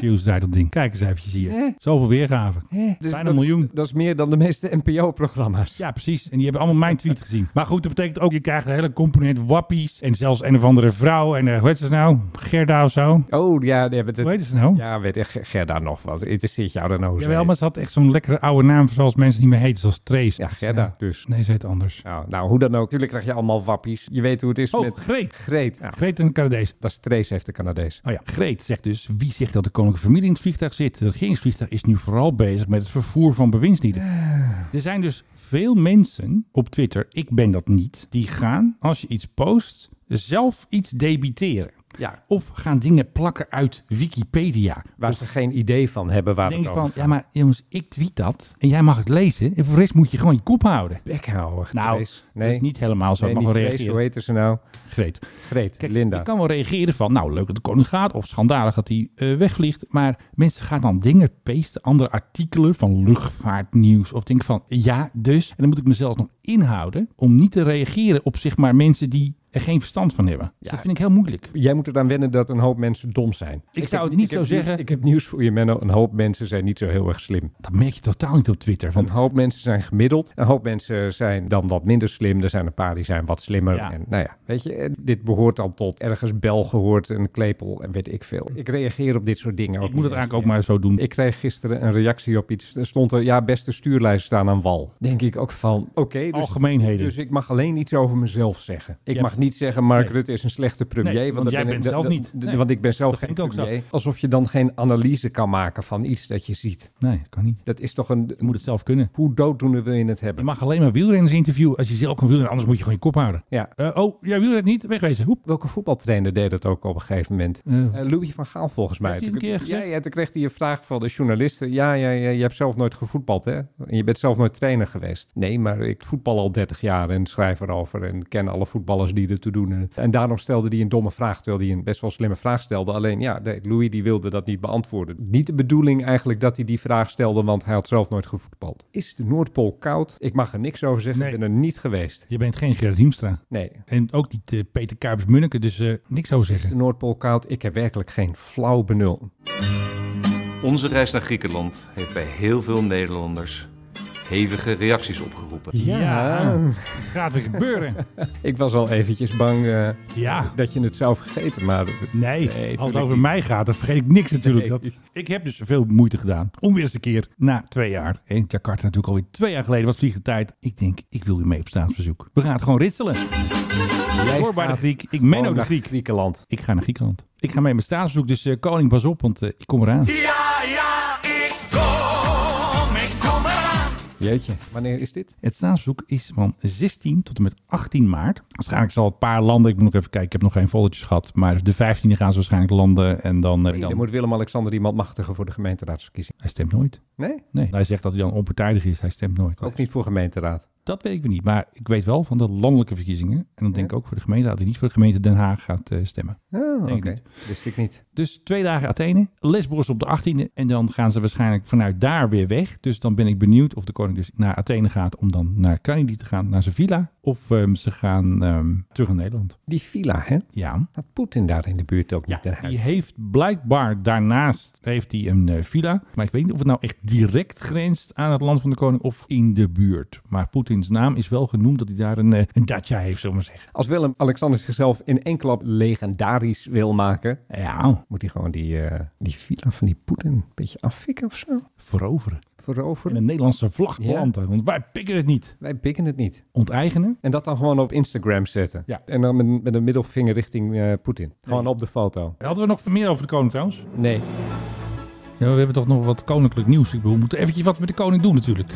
[SPEAKER 5] views daar dat ding. Kijk eens eventjes hier.
[SPEAKER 1] Eh?
[SPEAKER 5] Zoveel weergaven. Eh, Bijna
[SPEAKER 1] Dus dat-
[SPEAKER 5] een miljoen.
[SPEAKER 1] Dat is meer dan de meeste NPO-programma's.
[SPEAKER 5] Ja, precies. En die hebben allemaal mijn tweet gezien. Maar goed, dat betekent ook, je krijgt een hele component wappies. En zelfs een of andere vrouw. En eh, hoe heet ze nou? Gerda of zo.
[SPEAKER 1] Oh, ja. nee, maar dat-
[SPEAKER 5] Hoe heet ze nou?
[SPEAKER 1] ja, weet ik, Ger- Gerda nog wat. Interesseert jou dan ook?
[SPEAKER 5] Jawel, maar ze had echt zo'n lekkere oude naam, zoals mensen niet meer heten, zoals Trace.
[SPEAKER 1] Ja, Gerda dus.
[SPEAKER 5] Nee, ze heet anders.
[SPEAKER 1] Nou, nou, hoe dan ook. Natuurlijk krijg je allemaal wappies. Je weet hoe het is
[SPEAKER 5] Oh,
[SPEAKER 1] met
[SPEAKER 5] Greet.
[SPEAKER 1] Greet. Nou,
[SPEAKER 5] Greet en de Canadees.
[SPEAKER 1] dat is Trace, heeft de Canadees.
[SPEAKER 5] Oh ja, Greet zegt dus, wie zegt dat de koninklijke familie in het vliegtuig zit? Het regeringsvliegtuig is nu vooral bezig met het vervoer van bewindslieden.
[SPEAKER 1] Ah.
[SPEAKER 5] Er zijn dus veel mensen op Twitter, ik ben dat niet, die gaan, als je iets post, zelf iets debiteren.
[SPEAKER 1] Ja,
[SPEAKER 5] Of gaan dingen plakken uit Wikipedia.
[SPEAKER 1] waar ze geen idee van hebben waar
[SPEAKER 5] Denk
[SPEAKER 1] het over
[SPEAKER 5] van, ja maar jongens, ik tweet dat en jij mag het lezen. En voor de rest moet je gewoon je kop houden.
[SPEAKER 1] Bek houden,
[SPEAKER 5] Nou,
[SPEAKER 1] Trace.
[SPEAKER 5] dat is niet helemaal zo.
[SPEAKER 1] nee,
[SPEAKER 5] Ik mag
[SPEAKER 1] niet
[SPEAKER 5] wel
[SPEAKER 1] Trace,
[SPEAKER 5] reageren.
[SPEAKER 1] Hoe heet ze nou?
[SPEAKER 5] Greet.
[SPEAKER 1] Greet,
[SPEAKER 5] Kijk,
[SPEAKER 1] Linda.
[SPEAKER 5] je kan wel reageren van, nou leuk dat de koning gaat, of schandalig dat hij eh, wegvliegt. Maar mensen gaan dan dingen pasten, andere artikelen van luchtvaartnieuws. Of denken van, ja dus, en dan moet ik mezelf nog inhouden om niet te reageren op zeg maar mensen die er geen verstand van hebben. Dus
[SPEAKER 1] Ja.
[SPEAKER 5] dat vind ik heel moeilijk.
[SPEAKER 1] Jij moet er dan wennen dat een hoop mensen dom zijn.
[SPEAKER 5] Ik zou
[SPEAKER 1] heb-
[SPEAKER 5] het
[SPEAKER 1] heb
[SPEAKER 5] niet zo
[SPEAKER 1] nieuws-
[SPEAKER 5] zeggen.
[SPEAKER 1] Ik heb nieuws voor je, Menno. Een hoop mensen zijn niet zo heel erg slim.
[SPEAKER 5] Dat merk je totaal niet op Twitter.
[SPEAKER 1] Een
[SPEAKER 5] Want
[SPEAKER 1] hoop mensen zijn gemiddeld. Een hoop mensen zijn dan wat minder slim. Er zijn een paar die zijn wat slimmer.
[SPEAKER 5] Ja.
[SPEAKER 1] En nou ja, weet je, eh, dit behoort dan tot ergens bel gehoord, een klepel en weet ik veel. Ik reageer op dit soort dingen ook.
[SPEAKER 5] ik moet
[SPEAKER 1] niet
[SPEAKER 5] het eigenlijk ook
[SPEAKER 1] eens.
[SPEAKER 5] maar zo doen.
[SPEAKER 1] Ik kreeg gisteren een reactie op iets. Er stond er, ja, beste stuurlijst staan aan wal. Denk ik ook van, oké, dus,
[SPEAKER 5] Algemeenheden.
[SPEAKER 1] dus ik mag alleen iets over mezelf zeggen. Ik
[SPEAKER 5] Jij
[SPEAKER 1] mag
[SPEAKER 5] hebt
[SPEAKER 1] niet zeggen, Mark
[SPEAKER 5] Nee.
[SPEAKER 1] Rutte is een slechte premier.
[SPEAKER 5] Nee, want
[SPEAKER 1] dat
[SPEAKER 5] jij
[SPEAKER 1] ben ik-
[SPEAKER 5] bent
[SPEAKER 1] dat-
[SPEAKER 5] zelf
[SPEAKER 1] dat-
[SPEAKER 5] niet.
[SPEAKER 1] d-
[SPEAKER 5] Nee.
[SPEAKER 1] Want ik ben zelf
[SPEAKER 5] Dat
[SPEAKER 1] geen
[SPEAKER 5] vind ik ook zo.
[SPEAKER 1] premier. Alsof je dan geen analyse kan maken van iets dat je ziet.
[SPEAKER 5] Nee, dat kan niet.
[SPEAKER 1] Dat is toch een...
[SPEAKER 5] Je moet het zelf kunnen.
[SPEAKER 1] Hoe dooddoende wil je het
[SPEAKER 5] Je
[SPEAKER 1] hebben?
[SPEAKER 5] mag alleen maar wielrenners interviewen als je zelf kan wielrennen. Anders moet je gewoon je kop houden.
[SPEAKER 1] Ja.
[SPEAKER 5] Eh, oh, jij wielrent niet? Wegwezen. Hoep.
[SPEAKER 1] Welke voetbaltrainer deed dat ook op een gegeven moment?
[SPEAKER 5] Eh,
[SPEAKER 1] Eh, Louis van Gaal volgens mij.
[SPEAKER 5] Heeft hij een keer
[SPEAKER 1] ja,
[SPEAKER 5] gezegd?
[SPEAKER 1] ja, toen kreeg hij een vraag van de journalisten. Ja, ja, ja, je hebt zelf nooit gevoetbald, hè? En je bent zelf nooit trainer geweest. Nee, maar ik voetbal al 30 jaar en schrijf erover en ken alle voetballers die er toe doen. En daarom stelde hij een domme vraag, terwijl hij een best wel slimme vraag stelde. Alleen ja, nee, Louis die wilde dat niet beantwoorden. Niet de bedoeling eigenlijk dat hij die vraag stelde, want hij had zelf nooit gevoetbald. Is de Noordpool koud? Ik mag er niks over zeggen,
[SPEAKER 5] Nee.
[SPEAKER 1] ik ben er niet geweest.
[SPEAKER 5] je bent geen Gerrit Hiemstra.
[SPEAKER 1] Nee,
[SPEAKER 5] En ook niet eh, Peter Kuipers-Munneke, dus eh, niks over
[SPEAKER 1] de
[SPEAKER 5] zeggen.
[SPEAKER 1] Noordpool koud, ik heb werkelijk geen flauw benul.
[SPEAKER 2] Onze reis naar Griekenland heeft bij heel veel Nederlanders hevige reacties opgeroepen.
[SPEAKER 5] Ja. Gaat weer gebeuren.
[SPEAKER 1] Ik was al eventjes bang eh,
[SPEAKER 5] Ja.
[SPEAKER 1] dat je het zou vergeten, maar het-
[SPEAKER 5] Nee,
[SPEAKER 1] Nee,
[SPEAKER 5] als
[SPEAKER 1] tuurlijk
[SPEAKER 5] het over
[SPEAKER 1] niet.
[SPEAKER 5] mij gaat, dan vergeet ik niks natuurlijk.
[SPEAKER 1] Nee.
[SPEAKER 5] Dat, ik heb dus veel moeite gedaan om weer eens een keer na twee jaar. hè, In Jakarta natuurlijk alweer twee jaar geleden was vliegtijd. Ik denk, ik wil weer mee op staatsbezoek. We gaan het gewoon ritselen.
[SPEAKER 1] jij
[SPEAKER 5] Hoor bij de
[SPEAKER 1] gaat
[SPEAKER 5] Griek. Ik
[SPEAKER 1] gewoon
[SPEAKER 5] Menno de
[SPEAKER 1] Oh, naar
[SPEAKER 5] Griek.
[SPEAKER 1] Griekenland.
[SPEAKER 5] Ik ga naar Griekenland. Ik ga mee met staatsbezoek, dus eh, koning pas op, want eh, ik kom eraan.
[SPEAKER 1] Jeetje, wanneer is dit?
[SPEAKER 5] Het staatsbezoek is van 16 tot en met 18 maart. Waarschijnlijk zal een paar landen, ik moet nog even kijken, ik heb nog geen foldertjes gehad, maar de 15e gaan ze waarschijnlijk landen en dan... eh,
[SPEAKER 1] Nee,
[SPEAKER 5] dan
[SPEAKER 1] dan moet Willem-Alexander iemand machtigen voor de gemeenteraadsverkiezing.
[SPEAKER 5] Hij stemt nooit.
[SPEAKER 1] Nee,
[SPEAKER 5] Nee, hij zegt dat hij dan onpartijdig is, hij stemt nooit.
[SPEAKER 1] ook niet voor gemeenteraad.
[SPEAKER 5] Dat weet ik weer niet. Maar ik weet wel van de landelijke verkiezingen. En dan denk ik ook voor de gemeente dat hij niet voor de gemeente Den Haag gaat eh, stemmen.
[SPEAKER 1] Oh, oké.
[SPEAKER 5] Denk ik
[SPEAKER 1] Wist ik niet.
[SPEAKER 5] Dus twee dagen Athene, Lesbos op de 18e. En dan gaan ze waarschijnlijk vanuit daar weer weg. Dus dan ben ik benieuwd of de koning dus naar Athene gaat om dan naar Kennedy te gaan, naar zijn villa. Of ehm, ze gaan ehm, terug naar Nederland.
[SPEAKER 1] Die villa, hè?
[SPEAKER 5] Ja.
[SPEAKER 1] Had Poetin daar in de buurt ook
[SPEAKER 5] Ja,
[SPEAKER 1] niet een huis?
[SPEAKER 5] die heeft blijkbaar daarnaast heeft hij een eh, villa. Maar ik weet niet of het nou echt direct grenst aan het land van de koning of in de buurt. Maar Poetins naam is wel genoemd dat hij daar een, eh, een dacha heeft, zullen we maar zeggen.
[SPEAKER 1] Als Willem-Alexander zichzelf in één klap legendarisch wil maken,
[SPEAKER 5] Ja,
[SPEAKER 1] moet hij gewoon die, eh, die villa van die Poetin een beetje affikken of zo?
[SPEAKER 5] veroveren. En
[SPEAKER 1] Veroveren?
[SPEAKER 5] een Nederlandse vlag
[SPEAKER 1] Ja.
[SPEAKER 5] planten, want wij pikken het niet.
[SPEAKER 1] Wij pikken het niet.
[SPEAKER 5] Onteigenen?
[SPEAKER 1] En dat dan gewoon op Instagram zetten.
[SPEAKER 5] Ja.
[SPEAKER 1] En dan met, met een middelvinger richting eh, Poetin. Gewoon op de foto.
[SPEAKER 5] Hadden we nog meer over de koning trouwens?
[SPEAKER 1] Nee.
[SPEAKER 5] Ja, we hebben toch nog wat koninklijk nieuws. Ik bedoel, we moeten eventjes wat met de koning doen natuurlijk.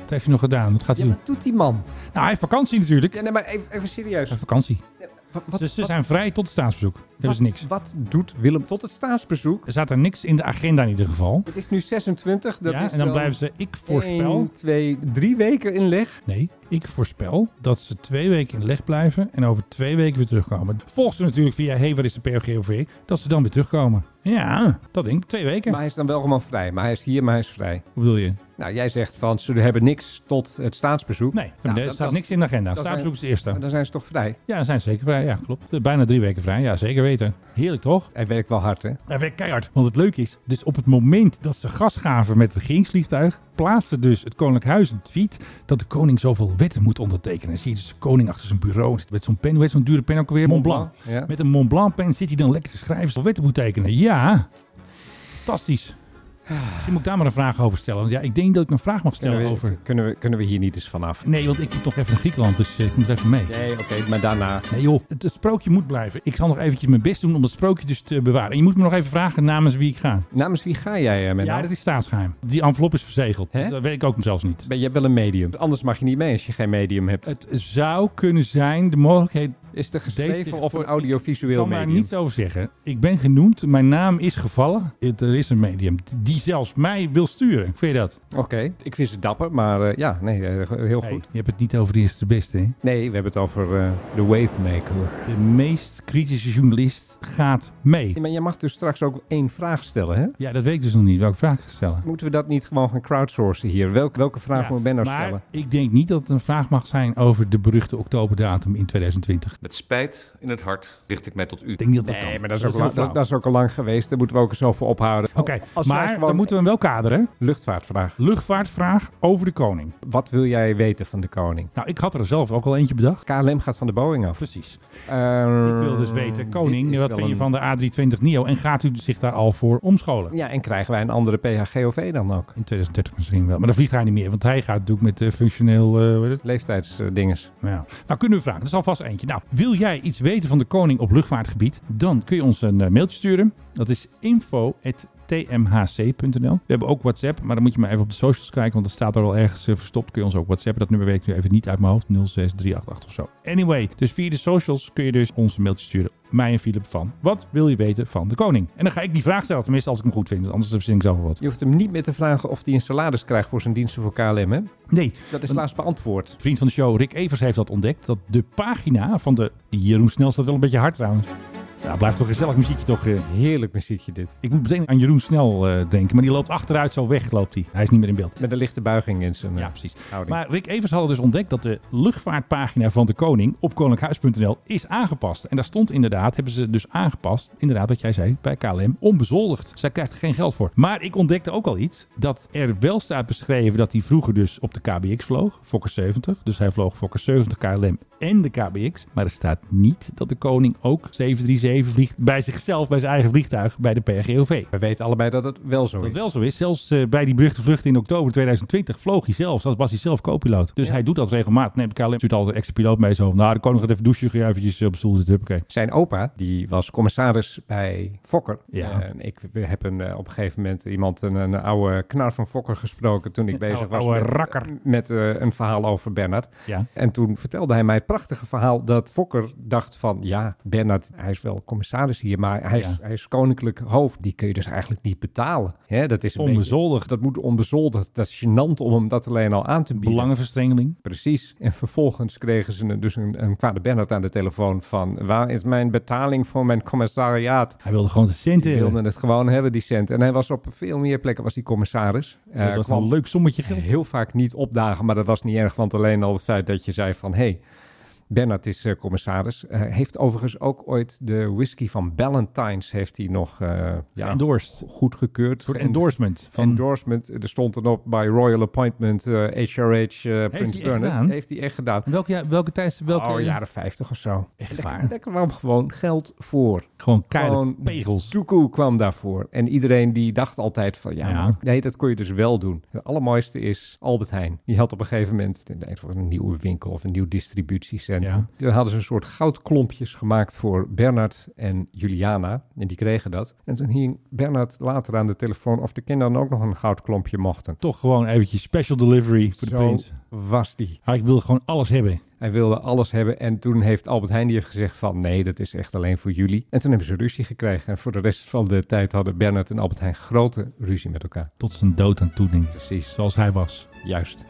[SPEAKER 5] Wat heeft hij nog gedaan? Wat gaat hij
[SPEAKER 1] Ja,
[SPEAKER 5] doen?
[SPEAKER 1] wat doet die man?
[SPEAKER 5] Nou, hij heeft vakantie natuurlijk.
[SPEAKER 1] Ja, nee, maar even, even serieus.
[SPEAKER 5] Hij heeft vakantie.
[SPEAKER 1] Wat, wat,
[SPEAKER 5] Dus ze
[SPEAKER 1] wat-
[SPEAKER 5] zijn vrij tot het staatsbezoek. Dat is
[SPEAKER 1] wat-
[SPEAKER 5] niks.
[SPEAKER 1] Wat doet Willem tot het staatsbezoek?
[SPEAKER 5] Er staat er niks in de agenda in ieder geval.
[SPEAKER 1] Het is nu 26. Dat
[SPEAKER 5] ja,
[SPEAKER 1] is
[SPEAKER 5] en dan blijven ze, ik voorspel,
[SPEAKER 1] 1, 2, 3 weken in leg.
[SPEAKER 5] nee, ik voorspel dat ze twee weken in leg blijven en over twee weken weer terugkomen. Volgens ze natuurlijk via, hey, waar is de POGOV? Dat ze dan weer terugkomen. Ja, dat denk ik, twee weken.
[SPEAKER 1] Maar hij is dan wel gewoon vrij. Maar hij is hier, maar hij is vrij.
[SPEAKER 5] Hoe bedoel je?
[SPEAKER 1] Nou, jij zegt van ze hebben niks tot het staatsbezoek.
[SPEAKER 5] Nee,
[SPEAKER 1] Nou,
[SPEAKER 5] er
[SPEAKER 1] dat-
[SPEAKER 5] staat
[SPEAKER 1] dat-
[SPEAKER 5] niks in de agenda.
[SPEAKER 1] dat
[SPEAKER 5] Staatsbezoek is de eerste.
[SPEAKER 1] Maar dan zijn ze toch vrij.
[SPEAKER 5] Ja, ze zijn zeker vrij. Ja, klopt. Eh, Bijna drie weken vrij. Ja, zeker weten. Heerlijk toch?
[SPEAKER 1] Hij werkt wel hard, hè?
[SPEAKER 5] Hij werkt keihard. Want het leuke is, dus op het moment dat ze gas gaven met het regeringsvliegtuig, plaatste dus het Koninklijk Huis een tweet dat de koning zoveel wetten moet ondertekenen. Dan zie je dus de koning achter zijn bureau zit met zo'n pen, hoe heet zo'n dure pen ook alweer? Mont Blanc.
[SPEAKER 1] Ja.
[SPEAKER 5] Met een Mont Blanc pen zit hij dan lekker te schrijven, zo'n wetten moet tekenen. Ja, fantastisch. Dus Je moet ik daar maar een vraag over stellen. Want ja, ik denk dat ik een vraag mag stellen
[SPEAKER 1] Kunnen we,
[SPEAKER 5] over...
[SPEAKER 1] Kunnen, we, kunnen we hier niet eens vanaf?
[SPEAKER 5] Nee, want ik moet nog even naar Griekenland, dus eh, ik moet even mee.
[SPEAKER 1] Nee, oké, maar daarna.
[SPEAKER 5] Nee joh, het, het sprookje moet blijven. Ik zal nog eventjes mijn best doen om dat sprookje dus te bewaren. En je moet me nog even vragen namens wie ik ga.
[SPEAKER 1] Namens wie ga jij, eh, Menno?
[SPEAKER 5] Ja, dat is staatsgeheim. Die envelop is verzegeld.
[SPEAKER 1] Hè?
[SPEAKER 5] Dus dat weet ik ook zelfs niet.
[SPEAKER 1] Ben jij wel een medium? Anders mag je niet mee als je geen medium hebt.
[SPEAKER 5] Het zou kunnen zijn, de mogelijkheid
[SPEAKER 1] Is er
[SPEAKER 5] Deze
[SPEAKER 1] geschreven of
[SPEAKER 5] voor-
[SPEAKER 1] een
[SPEAKER 5] Ik
[SPEAKER 1] audiovisueel
[SPEAKER 5] kan daar
[SPEAKER 1] medium?
[SPEAKER 5] niets over zeggen. Ik ben genoemd, mijn naam is gevallen. Het- Er is een medium die zelfs mij wil sturen. Vind je dat?
[SPEAKER 1] Oké, ik vind ze dapper, maar eh, ja, nee, eh, heel
[SPEAKER 5] Hey,
[SPEAKER 1] goed.
[SPEAKER 5] je hebt het niet over de eerste de beste. Hè?
[SPEAKER 1] Nee, we hebben het over eh, de wavemaker.
[SPEAKER 5] De meest kritische journalist gaat mee.
[SPEAKER 1] Maar je mag dus straks ook één vraag stellen, hè?
[SPEAKER 5] Ja, dat weet ik dus nog niet. Welke vraag ik ga stellen?
[SPEAKER 1] Moeten we dat niet gewoon gaan crowdsourcen hier? Welk, welke vraag
[SPEAKER 5] Ja,
[SPEAKER 1] moet Ben nou
[SPEAKER 5] maar
[SPEAKER 1] stellen?
[SPEAKER 5] ik denk niet dat het een vraag mag zijn over de beruchte oktoberdatum in 2020.
[SPEAKER 2] Met spijt in het hart richt ik mij tot u.
[SPEAKER 5] Ik denk niet dat dat
[SPEAKER 1] Nee,
[SPEAKER 5] kan.
[SPEAKER 1] maar dat is, ook
[SPEAKER 5] heel
[SPEAKER 1] lang, dat,
[SPEAKER 5] flauw.
[SPEAKER 1] dat is ook al lang geweest. Daar moeten we ook eens over ophouden.
[SPEAKER 5] Oké,
[SPEAKER 1] Als wij
[SPEAKER 5] maar
[SPEAKER 1] gewoon-
[SPEAKER 5] dan moeten we hem wel kaderen.
[SPEAKER 1] Luchtvaartvraag.
[SPEAKER 5] Luchtvaartvraag over de koning.
[SPEAKER 1] Wat wil jij weten van de koning?
[SPEAKER 5] Nou, ik had er zelf ook al eentje bedacht.
[SPEAKER 1] KLM gaat van de Boeing af.
[SPEAKER 5] Precies.
[SPEAKER 1] Eh,
[SPEAKER 5] Ik wil dus weten,
[SPEAKER 1] dit
[SPEAKER 5] koning,
[SPEAKER 1] is
[SPEAKER 5] wat
[SPEAKER 1] wel
[SPEAKER 5] vind je
[SPEAKER 1] een-
[SPEAKER 5] van de A320 NIO en gaat u zich daar al voor omscholen?
[SPEAKER 1] Ja, en krijgen wij een andere PHGOV dan ook?
[SPEAKER 5] In 2030 misschien wel. Maar dan vliegt hij niet meer, want hij gaat natuurlijk met eh, functioneel... eh, hoe heet het?
[SPEAKER 1] Leeftijdsdinges.
[SPEAKER 5] Ja. Nou, kunnen we vragen. Dat is alvast eentje. Nou, wil jij iets weten van de koning op luchtvaartgebied? Dan kun je ons een eh, mailtje sturen. Dat is info.tmhc.nl. We hebben ook WhatsApp, maar dan moet je maar even op de socials kijken, want dat staat er wel ergens eh, verstopt. Kun je ons ook WhatsApp. Dat nummer weet ik nu even niet uit mijn hoofd. 06388 of zo. Anyway, dus via de socials kun je dus ons een mailtje sturen. Mij en Philip van. Wat wil je weten van de koning? En dan ga ik die vraag stellen, tenminste als ik hem goed vind. want Anders verzin ik zelf wel wat.
[SPEAKER 1] Je hoeft hem niet meer te vragen of hij een salaris krijgt voor zijn diensten voor KLM. Hè?
[SPEAKER 5] Nee,
[SPEAKER 1] Dat is laatst beantwoord.
[SPEAKER 5] Vriend van de show Rick Evers heeft dat ontdekt. Dat de pagina van de... Die Jeroen Snel staat wel een beetje hard trouwens. Nou, blijft toch een gezellig muziekje toch. eh.
[SPEAKER 1] Heerlijk muziekje dit.
[SPEAKER 5] Ik moet meteen aan Jeroen Snel eh, denken. Maar die loopt achteruit zo weg, loopt hij. Hij is niet meer in beeld.
[SPEAKER 1] Met een lichte buiging in zijn eh,
[SPEAKER 5] Ja, precies.
[SPEAKER 1] houding.
[SPEAKER 5] Maar Rick Evers had dus ontdekt dat de luchtvaartpagina van de koning op koninkhuis.nl is aangepast. En daar stond inderdaad, hebben ze dus aangepast, inderdaad wat jij zei, bij KLM, onbezoldigd. Zij krijgt er geen geld voor. Maar ik ontdekte ook al iets, dat er wel staat beschreven dat hij vroeger dus op de KBX vloog, Fokker 70. Dus hij vloog Fokker 70 KLM en de KBX. Maar er staat niet dat de koning ook 737 vliegt bij zichzelf, bij zijn eigen vliegtuig, bij de PRGOV.
[SPEAKER 1] We weten allebei dat het wel zo
[SPEAKER 5] Dat
[SPEAKER 1] is.
[SPEAKER 5] wel zo is. Zelfs eh, bij die beruchte vlucht in oktober 2020 vloog hij zelf. Dat was hij zelf co-piloot. Dus hij doet dat regelmatig. Neemt KLM natuurlijk altijd een extra piloot mee. Zo van, nou, de koning gaat even douchen. Ga jij eventjes op stoel zitten. Huppakee.
[SPEAKER 1] Zijn opa, die was commissaris bij Fokker.
[SPEAKER 5] Ja.
[SPEAKER 1] En ik heb een, eh, op een gegeven moment iemand, een, een oude knar van Fokker gesproken toen ik bezig was
[SPEAKER 5] oude
[SPEAKER 1] met,
[SPEAKER 5] rakker.
[SPEAKER 1] met eh, een verhaal over Bernard.
[SPEAKER 5] Ja.
[SPEAKER 1] En toen vertelde hij mij het prachtige verhaal dat Fokker dacht van, ja, Bernard, hij is wel commissaris hier, maar hij, is,
[SPEAKER 5] Ja.
[SPEAKER 1] hij is koninklijk hoofd. Die kun je dus eigenlijk niet betalen. Hè, dat is een
[SPEAKER 5] Onbezoldigd.
[SPEAKER 1] beetje- dat moet onbezoldigd. Dat is gênant om hem dat alleen al aan te bieden.
[SPEAKER 5] Belangenverstrengeling.
[SPEAKER 1] Precies. En vervolgens kregen ze een- dus een, een kwade Bernard aan de telefoon van... waar is mijn betaling voor mijn commissariaat?
[SPEAKER 5] Hij wilde gewoon de centen
[SPEAKER 1] Die
[SPEAKER 5] hebben.
[SPEAKER 1] wilden het gewoon hebben, die cent. En hij was op veel meer plekken was die commissaris. Eh,
[SPEAKER 5] Dat was wel
[SPEAKER 1] kwam
[SPEAKER 5] een leuk sommetje geld.
[SPEAKER 1] heel vaak niet opdagen, maar dat was niet erg. Want alleen al het feit dat je zei van... hey, Bernard is eh, commissaris. Eh, heeft overigens ook ooit de whisky van Ballantines... heeft hij nog eh ja,
[SPEAKER 5] Endorsed. Een
[SPEAKER 1] goedgekeurd.
[SPEAKER 5] soort
[SPEAKER 1] En-
[SPEAKER 5] endorsement. Van,
[SPEAKER 1] endorsement. Er stond erop by Royal Appointment eh, HRH eh
[SPEAKER 5] hij echt
[SPEAKER 1] Prince Bernard.
[SPEAKER 5] gedaan?
[SPEAKER 1] Heeft hij echt gedaan.
[SPEAKER 5] welke, ja- welke tijd? Welke,
[SPEAKER 1] Oh, jaren 50 of zo.
[SPEAKER 5] Echt
[SPEAKER 1] Lekker-
[SPEAKER 5] waar.
[SPEAKER 1] Lekker waarom gewoon geld voor.
[SPEAKER 5] Gewoon keiharde
[SPEAKER 1] Gewoon
[SPEAKER 5] pegels.
[SPEAKER 1] Tuku kwam daarvoor. En iedereen die dacht altijd van ja,
[SPEAKER 5] Ja.
[SPEAKER 1] maar nee, dat kon je dus wel doen. Het allermooiste is Albert Heijn. Die had op een gegeven moment in een, een nieuwe winkel of een nieuw distributiecentrum.
[SPEAKER 5] Ja.
[SPEAKER 1] Daar hadden ze een soort goudklompjes gemaakt voor Bernard en Juliana. En die kregen dat. En toen hing Bernard later aan de telefoon of de kinderen ook nog een goudklompje mochten.
[SPEAKER 5] Toch gewoon eventjes special delivery voor de
[SPEAKER 1] Zo
[SPEAKER 5] prins.
[SPEAKER 1] was die.
[SPEAKER 5] Hij wilde gewoon alles hebben.
[SPEAKER 1] Hij wilde alles hebben en toen heeft Albert Heijn die heeft gezegd van nee, dat is echt alleen voor jullie. En toen hebben ze ruzie gekregen en voor de rest van de tijd hadden Bernard en Albert Heijn grote ruzie met elkaar.
[SPEAKER 5] Tot zijn dood aan toe, denk ik.
[SPEAKER 1] Precies,
[SPEAKER 5] Zoals hij was.
[SPEAKER 1] juist.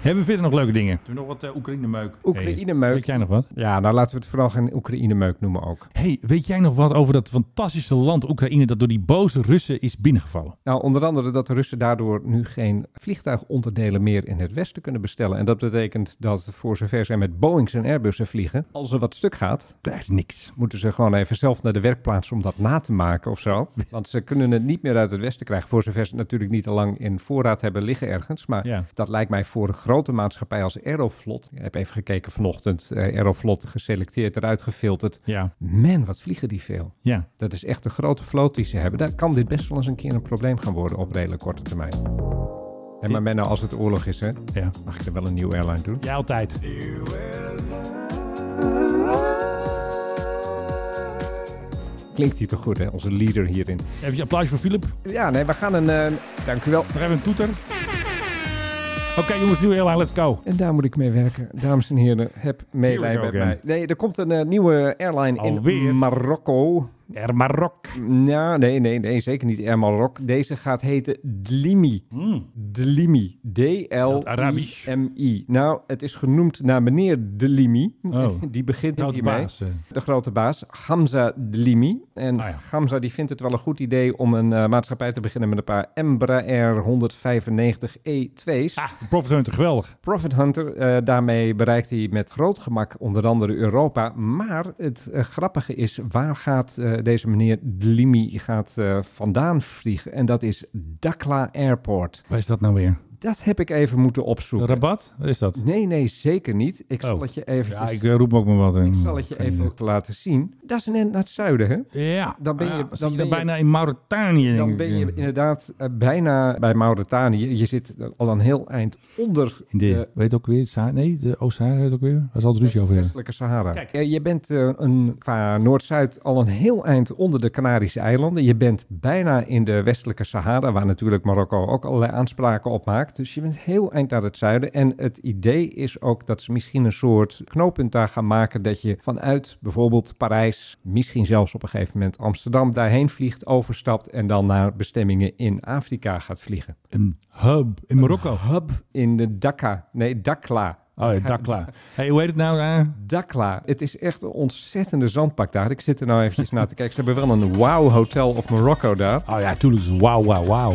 [SPEAKER 5] Hebben we verder nog leuke dingen? Doen we nog wat eh, Oekraïne-meuk?
[SPEAKER 1] Oekraïne-meuk.
[SPEAKER 5] Weet jij nog wat?
[SPEAKER 1] Ja, nou laten we het vooral geen Oekraïne-meuk noemen ook.
[SPEAKER 5] hey, weet jij nog wat over dat fantastische land Oekraïne dat door die boze Russen is binnengevallen?
[SPEAKER 1] Nou, onder andere dat de Russen daardoor nu geen vliegtuigonderdelen meer in het Westen kunnen bestellen. En dat betekent dat voor zover zij met Boeings en Airbussen vliegen, als er wat stuk gaat,
[SPEAKER 5] Dat is niks.
[SPEAKER 1] moeten ze gewoon even zelf naar de werkplaats om dat na te maken of zo. Want ze kunnen het niet meer uit het westen krijgen. Voor zover ze het natuurlijk niet al lang in voorraad hebben liggen ergens. Maar
[SPEAKER 5] Ja.
[SPEAKER 1] dat lijkt mij voor een grote maatschappij als Aeroflot. Ik heb even gekeken vanochtend. eh, Aeroflot geselecteerd, eruit gefilterd.
[SPEAKER 5] Ja,
[SPEAKER 1] Man, wat vliegen die veel.
[SPEAKER 5] ja.
[SPEAKER 1] Dat is echt een grote vloot die ze hebben. Daar kan dit best wel eens een keer een probleem gaan worden op redelijk korte termijn. En maar Menno, als het oorlog is, hè,
[SPEAKER 5] ja.
[SPEAKER 1] mag ik er wel een nieuwe airline doen?
[SPEAKER 5] Jij altijd.
[SPEAKER 1] Klinkt die toch goed, hè? Onze leader hierin.
[SPEAKER 5] Even een applausje voor Philip.
[SPEAKER 1] Ja, nee, we gaan een... eh, dank u wel.
[SPEAKER 5] Nog even een toeter. Oké jongens, nieuwe airline, let's go.
[SPEAKER 1] En daar moet ik mee werken. Dames en heren, heb meelij
[SPEAKER 5] Here we
[SPEAKER 1] met
[SPEAKER 5] go
[SPEAKER 1] mij. Nee, er komt een eh, nieuwe airline
[SPEAKER 5] Alweer?
[SPEAKER 1] in Marokko.
[SPEAKER 5] Air Maroc.
[SPEAKER 1] Nou, nee, nee, nee, zeker niet Air Marok. Deze gaat heten Dlimi.
[SPEAKER 5] Hmm.
[SPEAKER 1] Dlimi. D-L-I-M-I. Nou, het is genoemd naar meneer Dlimi.
[SPEAKER 5] Oh.
[SPEAKER 1] Die begint
[SPEAKER 5] Grote
[SPEAKER 1] hiermee.
[SPEAKER 5] baas, eh.
[SPEAKER 1] De grote baas, Hamza Dlimi. En
[SPEAKER 5] Ah, ja.
[SPEAKER 1] Hamza die vindt het wel een goed idee om een eh, maatschappij te beginnen met een paar Embraer E 195 E2's.
[SPEAKER 5] Ah, de Profit Hunter, geweldig.
[SPEAKER 1] Profit Hunter, eh, daarmee bereikt hij met groot gemak onder andere Europa. Maar het eh, grappige is, waar gaat eh, deze meneer Dlimi gaat, eh, vandaan vliegen? En dat is Dakla Airport.
[SPEAKER 5] Waar is dat nou weer?
[SPEAKER 1] Dat heb ik even moeten opzoeken.
[SPEAKER 5] Rabat? Wat is dat?
[SPEAKER 1] Nee, nee, zeker niet. Ik
[SPEAKER 5] Oh.
[SPEAKER 1] zal het je eventjes...
[SPEAKER 5] Ja, ik eh, roep me ook maar wat. in.
[SPEAKER 1] Ik zal het je even ook laten zien. Dat is net naar het zuiden, hè?
[SPEAKER 5] Ja,
[SPEAKER 1] Dan ben je-
[SPEAKER 5] Ah,
[SPEAKER 1] dan
[SPEAKER 5] zit
[SPEAKER 1] ben je-
[SPEAKER 5] bijna in Mauritanië.
[SPEAKER 1] Dan
[SPEAKER 5] denk
[SPEAKER 1] ben
[SPEAKER 5] ik.
[SPEAKER 1] je inderdaad eh, bijna bij Mauritanië. Je zit eh, al een heel eind onder
[SPEAKER 5] In de,
[SPEAKER 1] de
[SPEAKER 5] weet ook weer, Sa- nee, de Oost-Sahara weet ook weer. Waar zal het ruzie over hebben?
[SPEAKER 1] westelijke Sahara.
[SPEAKER 5] Kijk.
[SPEAKER 1] Eh, Je bent eh, een, qua Noord-Zuid al een heel eind onder de Canarische eilanden. Je bent bijna in de westelijke Sahara, waar natuurlijk Marokko ook allerlei aanspraken op maakt. Dus je bent heel eind naar het zuiden. En het idee is ook dat ze misschien een soort knooppunt daar gaan maken. Dat je vanuit bijvoorbeeld Parijs, misschien zelfs op een gegeven moment Amsterdam, daarheen vliegt, overstapt en dan naar bestemmingen in Afrika gaat vliegen.
[SPEAKER 5] Een hub in Marokko.
[SPEAKER 1] Hub in de Dakar, nee, Dakla.
[SPEAKER 5] Oh ja, Dakla. Hey, hoe heet het nou daar?
[SPEAKER 1] Dakla. Het is echt een ontzettende zandpak daar. Ik zit er nou eventjes naar te kijken. Ze hebben wel een wow hotel of Marokko daar.
[SPEAKER 5] Oh ja, tuurlijk. is Wauw, wauw, wauw.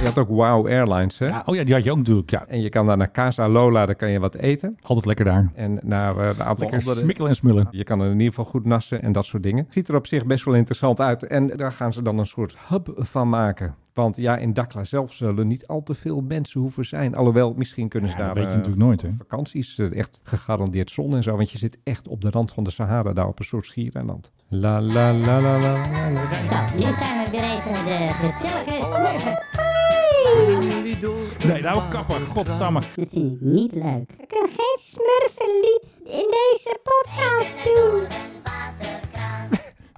[SPEAKER 1] Je had ook Wow Airlines, hè?
[SPEAKER 5] Ja, oh ja, die had je ook natuurlijk. Ja,
[SPEAKER 1] En je kan daar naar Casa Lola, daar kan je wat eten.
[SPEAKER 5] altijd lekker daar.
[SPEAKER 1] En naar eh, een aantal
[SPEAKER 5] Lekker
[SPEAKER 1] andere...
[SPEAKER 5] smikkelen en smullen.
[SPEAKER 1] Je kan er in ieder geval goed nassen en dat soort dingen. Ziet er op zich best wel interessant uit. En daar gaan ze dan een soort hub van maken. Want ja, in Dakla zelf zullen niet al te veel mensen hoeven zijn. Alhoewel, misschien kunnen ze
[SPEAKER 5] Ja, dat
[SPEAKER 1] daar
[SPEAKER 5] weet je
[SPEAKER 1] eh,
[SPEAKER 5] natuurlijk nooit, hè?
[SPEAKER 1] vakanties. eh, Echt gegarandeerd zon en zo. Want je zit echt op de rand van de Sahara, daar op een soort schiereiland. La la la la la la. la.
[SPEAKER 9] Zo, nu zijn we weer even de gezellige smurfen.
[SPEAKER 5] Nee, nou kapper. Godsamme.
[SPEAKER 9] Dit vind ik niet leuk. We kunnen geen smurfenlied in deze podcast doen.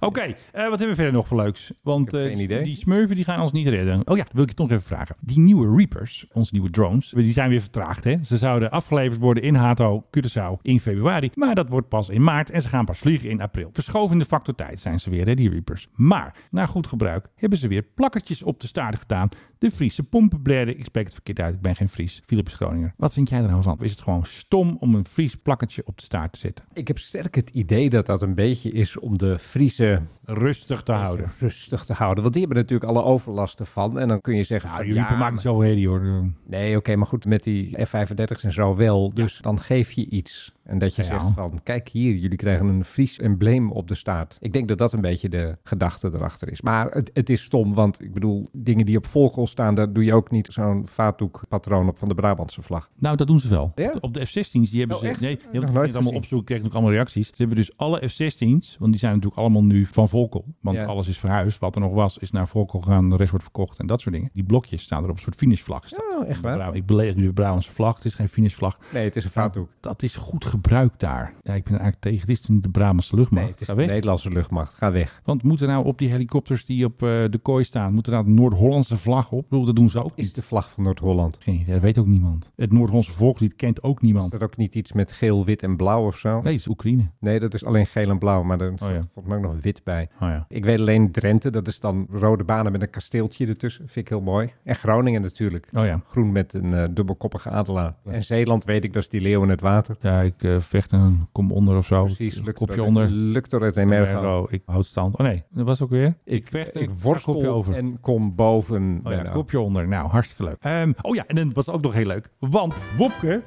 [SPEAKER 5] Oké, eh, wat hebben we verder nog voor leuks? Want
[SPEAKER 1] Ik heb
[SPEAKER 5] eh,
[SPEAKER 1] geen idee.
[SPEAKER 5] die smurfen die gaan ons niet redden. Oh ja, dat wil ik je toch nog even vragen. Die nieuwe Reapers, onze nieuwe drones, die zijn weer vertraagd. Hè? Ze zouden afgeleverd worden in Hato, Curaçao in februari. Maar dat wordt pas in maart en ze gaan pas vliegen in april. Verschoven in de factor tijd zijn ze weer, hè, die Reapers. Maar na goed gebruik hebben ze weer plakkertjes op de staart gedaan. De Friese pompen blerden. Ik spreek het verkeerd uit. Ik ben geen Fries. Philip is Groninger. Wat vind jij er nou van? Is het gewoon stom om een Fries plakkertje op de staart te zetten?
[SPEAKER 1] Ik heb sterk het idee dat dat een beetje is om de Friese
[SPEAKER 5] Rustig te houden.
[SPEAKER 1] rustig te houden. Want die hebben natuurlijk alle overlasten van. En dan kun je zeggen...
[SPEAKER 5] Nou,
[SPEAKER 1] van,
[SPEAKER 5] die Reaper maakt
[SPEAKER 1] maar-
[SPEAKER 5] niet zo herrie hoor.
[SPEAKER 1] Nee, oké, maar goed, met die F-35's en zo wel. Dus dan geef je iets. En dat je
[SPEAKER 5] Ja.
[SPEAKER 1] zegt van, kijk hier, jullie krijgen een Fries embleem op de staart. Ik denk dat dat een beetje de gedachte erachter is. Maar het, het is stom, want ik bedoel, dingen die op volkel staan... daar doe je ook niet zo'n vaatdoekpatroon op van de Brabantse vlag.
[SPEAKER 5] Nou, dat doen ze wel.
[SPEAKER 1] Ja?
[SPEAKER 5] Op de F-16's, die hebben
[SPEAKER 1] Oh,
[SPEAKER 5] ze...
[SPEAKER 1] echt?
[SPEAKER 5] Nee, die hebben
[SPEAKER 1] nooit
[SPEAKER 5] het allemaal
[SPEAKER 1] gezien.
[SPEAKER 5] opzoeken, kregen ook allemaal reacties. Ze hebben dus alle F-16's, want die zijn natuurlijk allemaal nu van Volkel. Want
[SPEAKER 1] Ja.
[SPEAKER 5] alles is verhuisd. Wat er nog was, is naar Volkel gegaan. De rest wordt verkocht en dat soort dingen. Die blokjes staan er op een soort finishvlag. staat.
[SPEAKER 1] Oh, echt
[SPEAKER 5] De
[SPEAKER 1] waar?
[SPEAKER 5] Brabant- Ik beleeg nu de Brabantse vlag. Het is geen finishvlag.
[SPEAKER 1] Nee, het is een vaatdoek.
[SPEAKER 5] Dat is goed gebruikt daar. Ja, ik ben er eigenlijk tegen. Het is niet de Brabantse luchtmacht.
[SPEAKER 1] Nee, het is
[SPEAKER 5] Ga
[SPEAKER 1] de
[SPEAKER 5] weg.
[SPEAKER 1] Nederlandse luchtmacht. Ga weg.
[SPEAKER 5] Want moeten nou op die helikopters die op eh, de kooi staan, moeten daar de Noord-Hollandse vlag op? Ik bedoel, dat doen ze ook
[SPEAKER 1] Is
[SPEAKER 5] niet.
[SPEAKER 1] de vlag van Noord-Holland.
[SPEAKER 5] Geen idee, dat weet ook niemand. Het Noord-Hollandse volkslied kent ook niemand.
[SPEAKER 1] Is dat ook niet iets met geel, wit en blauw of zo?
[SPEAKER 5] Nee, het is Oekraïne.
[SPEAKER 1] Nee, Oh, dat is alleen geel en blauw, maar er staat
[SPEAKER 5] ja.
[SPEAKER 1] volgens mij ook nog wit bij.
[SPEAKER 5] Oh ja.
[SPEAKER 1] Ik weet alleen Drenthe, dat is dan rode banen met een kasteeltje ertussen. Vind ik heel mooi. En Groningen natuurlijk.
[SPEAKER 5] Oh ja.
[SPEAKER 1] Groen met een eh, dubbelkoppige adelaar. En Zeeland weet ik, dat is die leeuw in het water.
[SPEAKER 5] Ja, ik eh, vecht en kom onder of zo.
[SPEAKER 1] Precies,
[SPEAKER 5] Een
[SPEAKER 1] lukt
[SPEAKER 5] kopje
[SPEAKER 1] er-
[SPEAKER 5] onder.
[SPEAKER 1] Lukt er het emergo.
[SPEAKER 5] Ergo, ik houd stand. Oh nee, dat was ook weer. Ik vecht en
[SPEAKER 1] Ik
[SPEAKER 5] kopje
[SPEAKER 1] worstel
[SPEAKER 5] over.
[SPEAKER 1] en kom boven.
[SPEAKER 5] Oh ja,
[SPEAKER 1] Benno.
[SPEAKER 5] kopje onder. Nou, hartstikke leuk. Ehm, oh ja, en dan was ook nog heel leuk. Want Wopke...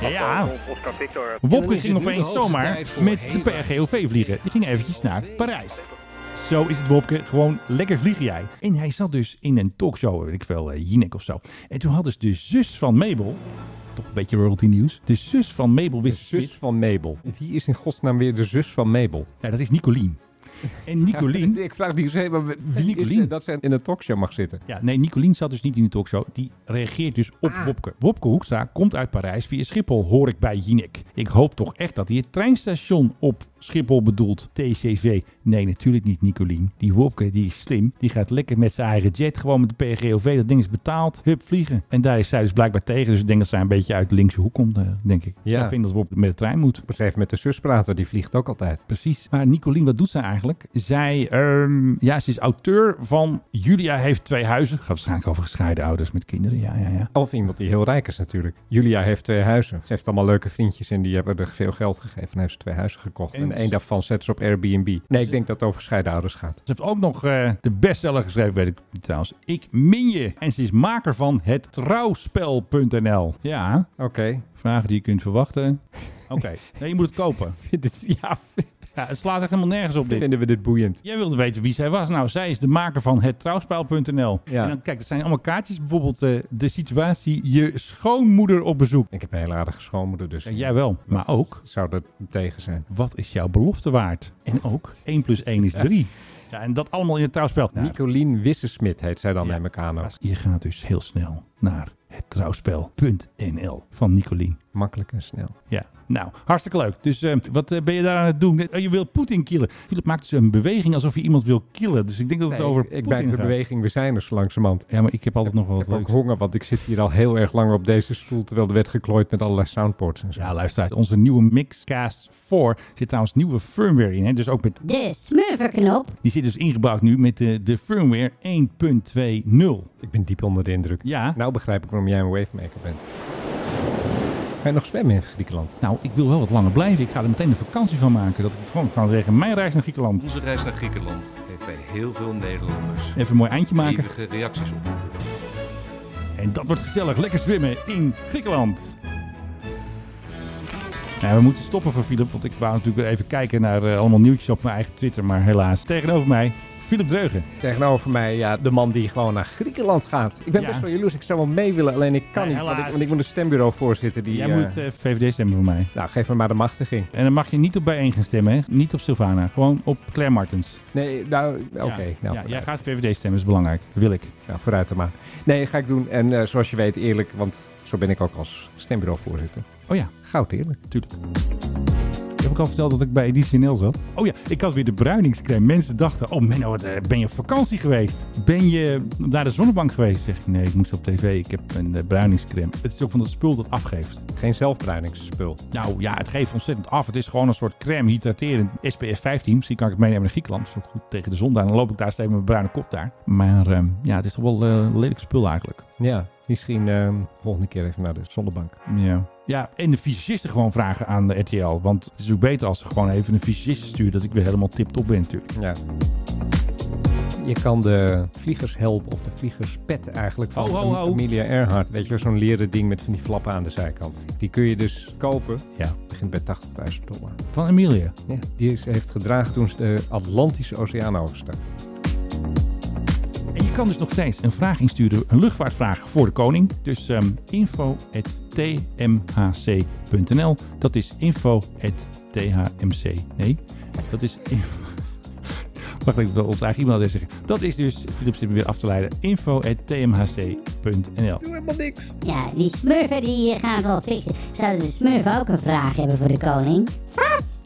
[SPEAKER 5] Ja,
[SPEAKER 7] En dan
[SPEAKER 5] Wopke
[SPEAKER 7] is
[SPEAKER 5] ging
[SPEAKER 7] het nu de
[SPEAKER 5] opeens
[SPEAKER 7] hoogste
[SPEAKER 5] zomaar
[SPEAKER 7] tijd voor
[SPEAKER 5] met de
[SPEAKER 7] Heemraad.
[SPEAKER 5] PRGOV vliegen. Die ging eventjes naar Parijs. Zo is het, Wopke. Gewoon lekker vlieg jij. En hij zat dus in een talkshow, weet ik wel, eh, Jinek of zo. En toen hadden ze de zus van Mabel... Toch een beetje royalty nieuws. De zus van Mabel
[SPEAKER 1] De
[SPEAKER 5] wist...
[SPEAKER 1] zus van Mabel. Die is in godsnaam weer de zus van Mabel.
[SPEAKER 5] Ja, dat is Nicolien. En Nicolien...
[SPEAKER 1] Ik vraag die eens even wie is
[SPEAKER 5] Nicolien.
[SPEAKER 1] er dat ze in een talkshow mag zitten.
[SPEAKER 5] Ja, nee, Nicolien zat dus niet in de talkshow. Die reageert dus op Wopke. Wopke Hoekstra komt uit Parijs via Schiphol, hoor ik bij Jinek. Ik hoop toch echt dat hij het treinstation op Schiphol bedoelt, TCV. Nee, natuurlijk niet, Nicolien. Die Wopke, die is slim. Die gaat lekker met zijn eigen jet, gewoon met de PRGOV. Dat ding is betaald. Hup, vliegen. En daar is zij dus blijkbaar tegen. Dus ik denk dat zij een beetje uit de linkse hoek komt, eh, denk ik.
[SPEAKER 1] Ja.
[SPEAKER 5] Zij vindt dat Wopke met de trein moet.
[SPEAKER 1] Moet eens even met de zus praten, die vliegt ook altijd.
[SPEAKER 5] Precies. Maar Nicolien, wat doet ze eigenlijk? Zij, ehm, ja, ze is auteur van Julia heeft twee huizen. Gaat waarschijnlijk over gescheiden ouders met kinderen. Ja, ja, ja.
[SPEAKER 1] Of iemand die heel rijk is natuurlijk. Julia heeft twee huizen. Ze heeft allemaal leuke vriendjes en die hebben er veel geld gegeven. En heeft ze twee huizen gekocht. En,
[SPEAKER 5] En-
[SPEAKER 1] één daarvan zet ze op Airbnb. Nee, ik denk dat het over gescheiden ouders gaat.
[SPEAKER 5] Ze heeft ook nog eh, de bestseller geschreven, weet ik niet trouwens. Ik min je. En ze is maker van het trouwspel.nl. Ja,
[SPEAKER 1] Oké.
[SPEAKER 5] vragen die je kunt verwachten. Oké, nee, je moet het kopen.
[SPEAKER 1] Vind het- ja,
[SPEAKER 5] Ja, het slaat echt helemaal nergens op dit.
[SPEAKER 1] Vinden we dit boeiend?
[SPEAKER 5] Jij wilde weten wie zij was. Nou, zij is de maker van het trouwspel.nl.
[SPEAKER 1] Ja.
[SPEAKER 5] En dan, kijk, er zijn allemaal kaartjes. Bijvoorbeeld eh, de situatie je schoonmoeder op bezoek.
[SPEAKER 1] Ik heb een hele aardige schoonmoeder, dus
[SPEAKER 5] Ja, jij wel, maar ook
[SPEAKER 1] zou dat tegen zijn.
[SPEAKER 5] wat is jouw belofte waard? En ook 1 plus 1 is 3. Ja, en dat allemaal in het trouwspel. Nou,
[SPEAKER 1] Nicolien Wissensmit heet zij dan
[SPEAKER 5] Ja.
[SPEAKER 1] bij elkaar nog.
[SPEAKER 5] je gaat dus heel snel naar het trouwspel.nl van Nicolien.
[SPEAKER 1] Makkelijk en snel.
[SPEAKER 5] Ja, nou, hartstikke leuk. Dus eh, wat eh, ben je daar aan het doen? Eh, je wil Poetin killen. Philip maakt dus een beweging alsof je iemand wil killen. Dus ik denk dat het
[SPEAKER 1] Nee,
[SPEAKER 5] over
[SPEAKER 1] ik
[SPEAKER 5] Poetin
[SPEAKER 1] ben de
[SPEAKER 5] gaat.
[SPEAKER 1] beweging, we zijn er zo langzamerhand.
[SPEAKER 5] Ja, maar ik heb altijd nog wel
[SPEAKER 1] Ik
[SPEAKER 5] wat
[SPEAKER 1] heb ook
[SPEAKER 5] leuks.
[SPEAKER 1] honger, want ik zit hier al heel erg lang op deze stoel... terwijl er werd geklooid met allerlei soundports en zo.
[SPEAKER 5] Ja, luister, onze nieuwe Mixcast 4 zit trouwens nieuwe firmware in. Hè? Dus ook met,
[SPEAKER 9] De smurferknop.
[SPEAKER 5] die zit dus ingebouwd nu met de, de firmware 1.20.
[SPEAKER 1] Ik ben diep onder de indruk.
[SPEAKER 5] Ja,
[SPEAKER 1] Nou begrijp ik waarom jij een wavemaker bent. Ga je nog zwemmen in Griekenland?
[SPEAKER 5] nou, ik wil wel wat langer blijven. Ik ga er meteen een vakantie van maken. Dat ik het gewoon kan zeggen, mijn reis naar Griekenland.
[SPEAKER 2] Onze reis naar Griekenland heeft bij heel veel Nederlanders
[SPEAKER 5] Even een mooi eindje maken.
[SPEAKER 2] hevige reacties op.
[SPEAKER 5] En dat wordt gezellig. Lekker zwemmen in Griekenland. Ja, we moeten stoppen voor Philip, want ik wou natuurlijk even kijken naar eh, allemaal nieuwtjes op mijn eigen Twitter. Maar helaas, tegenover mij, Philip Dreugen.
[SPEAKER 1] Tegenover mij, ja, de man die gewoon naar Griekenland gaat. Ik ben
[SPEAKER 5] Ja.
[SPEAKER 1] best wel jaloers, ik zou wel mee willen, alleen ik kan
[SPEAKER 5] Nee,
[SPEAKER 1] niet. Want ik,
[SPEAKER 5] helaas.
[SPEAKER 1] want ik moet een stembureau voorzitter die...
[SPEAKER 5] Jij
[SPEAKER 1] eh,
[SPEAKER 5] moet eh, VVD stemmen voor mij.
[SPEAKER 1] Nou, geef me maar de machtiging.
[SPEAKER 5] En dan mag je niet op bijeen gaan stemmen, hè? Niet op Sylvana, gewoon op Claire Martens.
[SPEAKER 1] Nee, nou, oké.
[SPEAKER 5] Ja.
[SPEAKER 1] nou,
[SPEAKER 5] ja,
[SPEAKER 1] vooruit.
[SPEAKER 5] jij gaat VVD stemmen, is belangrijk. Wil ik.
[SPEAKER 1] Nou, vooruit dan maar. Nee, dat ga ik doen. En eh, zoals je weet, eerlijk, want zo ben ik ook als stembureauvoorzitter.
[SPEAKER 5] Oh ja,
[SPEAKER 1] Goud eerlijk.
[SPEAKER 5] tuurlijk. Heb ik al verteld dat ik bij Editie NL zat? Oh ja, ik had weer de bruiningscreme. Mensen dachten, oh Menno, wat, eh, ben je op vakantie geweest? Ben je naar de zonnebank geweest? Zeg ik, nee, ik moest op tv. Ik heb een eh, bruiningscreme. Het is ook van dat spul dat afgeeft.
[SPEAKER 1] Geen zelfbruiningsspul.
[SPEAKER 5] Nou ja, het geeft ontzettend af. Het is gewoon een soort crème, hydraterend. SPF 15, misschien kan ik het meenemen naar Griekenland. Dat is ook goed tegen de zon daar. Dan loop ik daar steeds met mijn bruine kop daar. Maar ehm, ja, het is toch wel eh, een lelijk spul eigenlijk.
[SPEAKER 1] Ja, misschien ehm, volgende keer even naar de zonnebank.
[SPEAKER 5] Ja. Ja, en de fysicisten gewoon vragen aan de RTL. Want het is ook beter als ze gewoon even een fysicist sturen... dat ik weer helemaal tip-top ben natuurlijk.
[SPEAKER 1] Ja. Je kan de vliegers helpen, of de vliegerspet eigenlijk, van
[SPEAKER 5] Ho, ho, ho.
[SPEAKER 1] Amelia Earhart. Weet je wel, zo'n leren ding met van die flappen aan de zijkant. Die kun je dus kopen.
[SPEAKER 5] Ja.
[SPEAKER 1] Begint bij 80.000 dollar.
[SPEAKER 5] Van Emilia.
[SPEAKER 1] Ja. Die is, heeft gedragen toen ze de Atlantische Oceaan overstak.
[SPEAKER 5] En je kan dus nog steeds een vraag insturen, een luchtvaartvraag voor de koning. Dus ehm info.tmhc.nl. Dat is info.thmc. Nee, dat is. Wacht, ik wil ons eigen e-mailadres zeggen. Dat is dus, Philip zit me weer af te leiden, info.tmhc.nl.
[SPEAKER 9] Ja, die smurfen die eh, gaan het wel fixen. Zouden de smurfen ook een vraag hebben voor de koning?
[SPEAKER 10] Vast!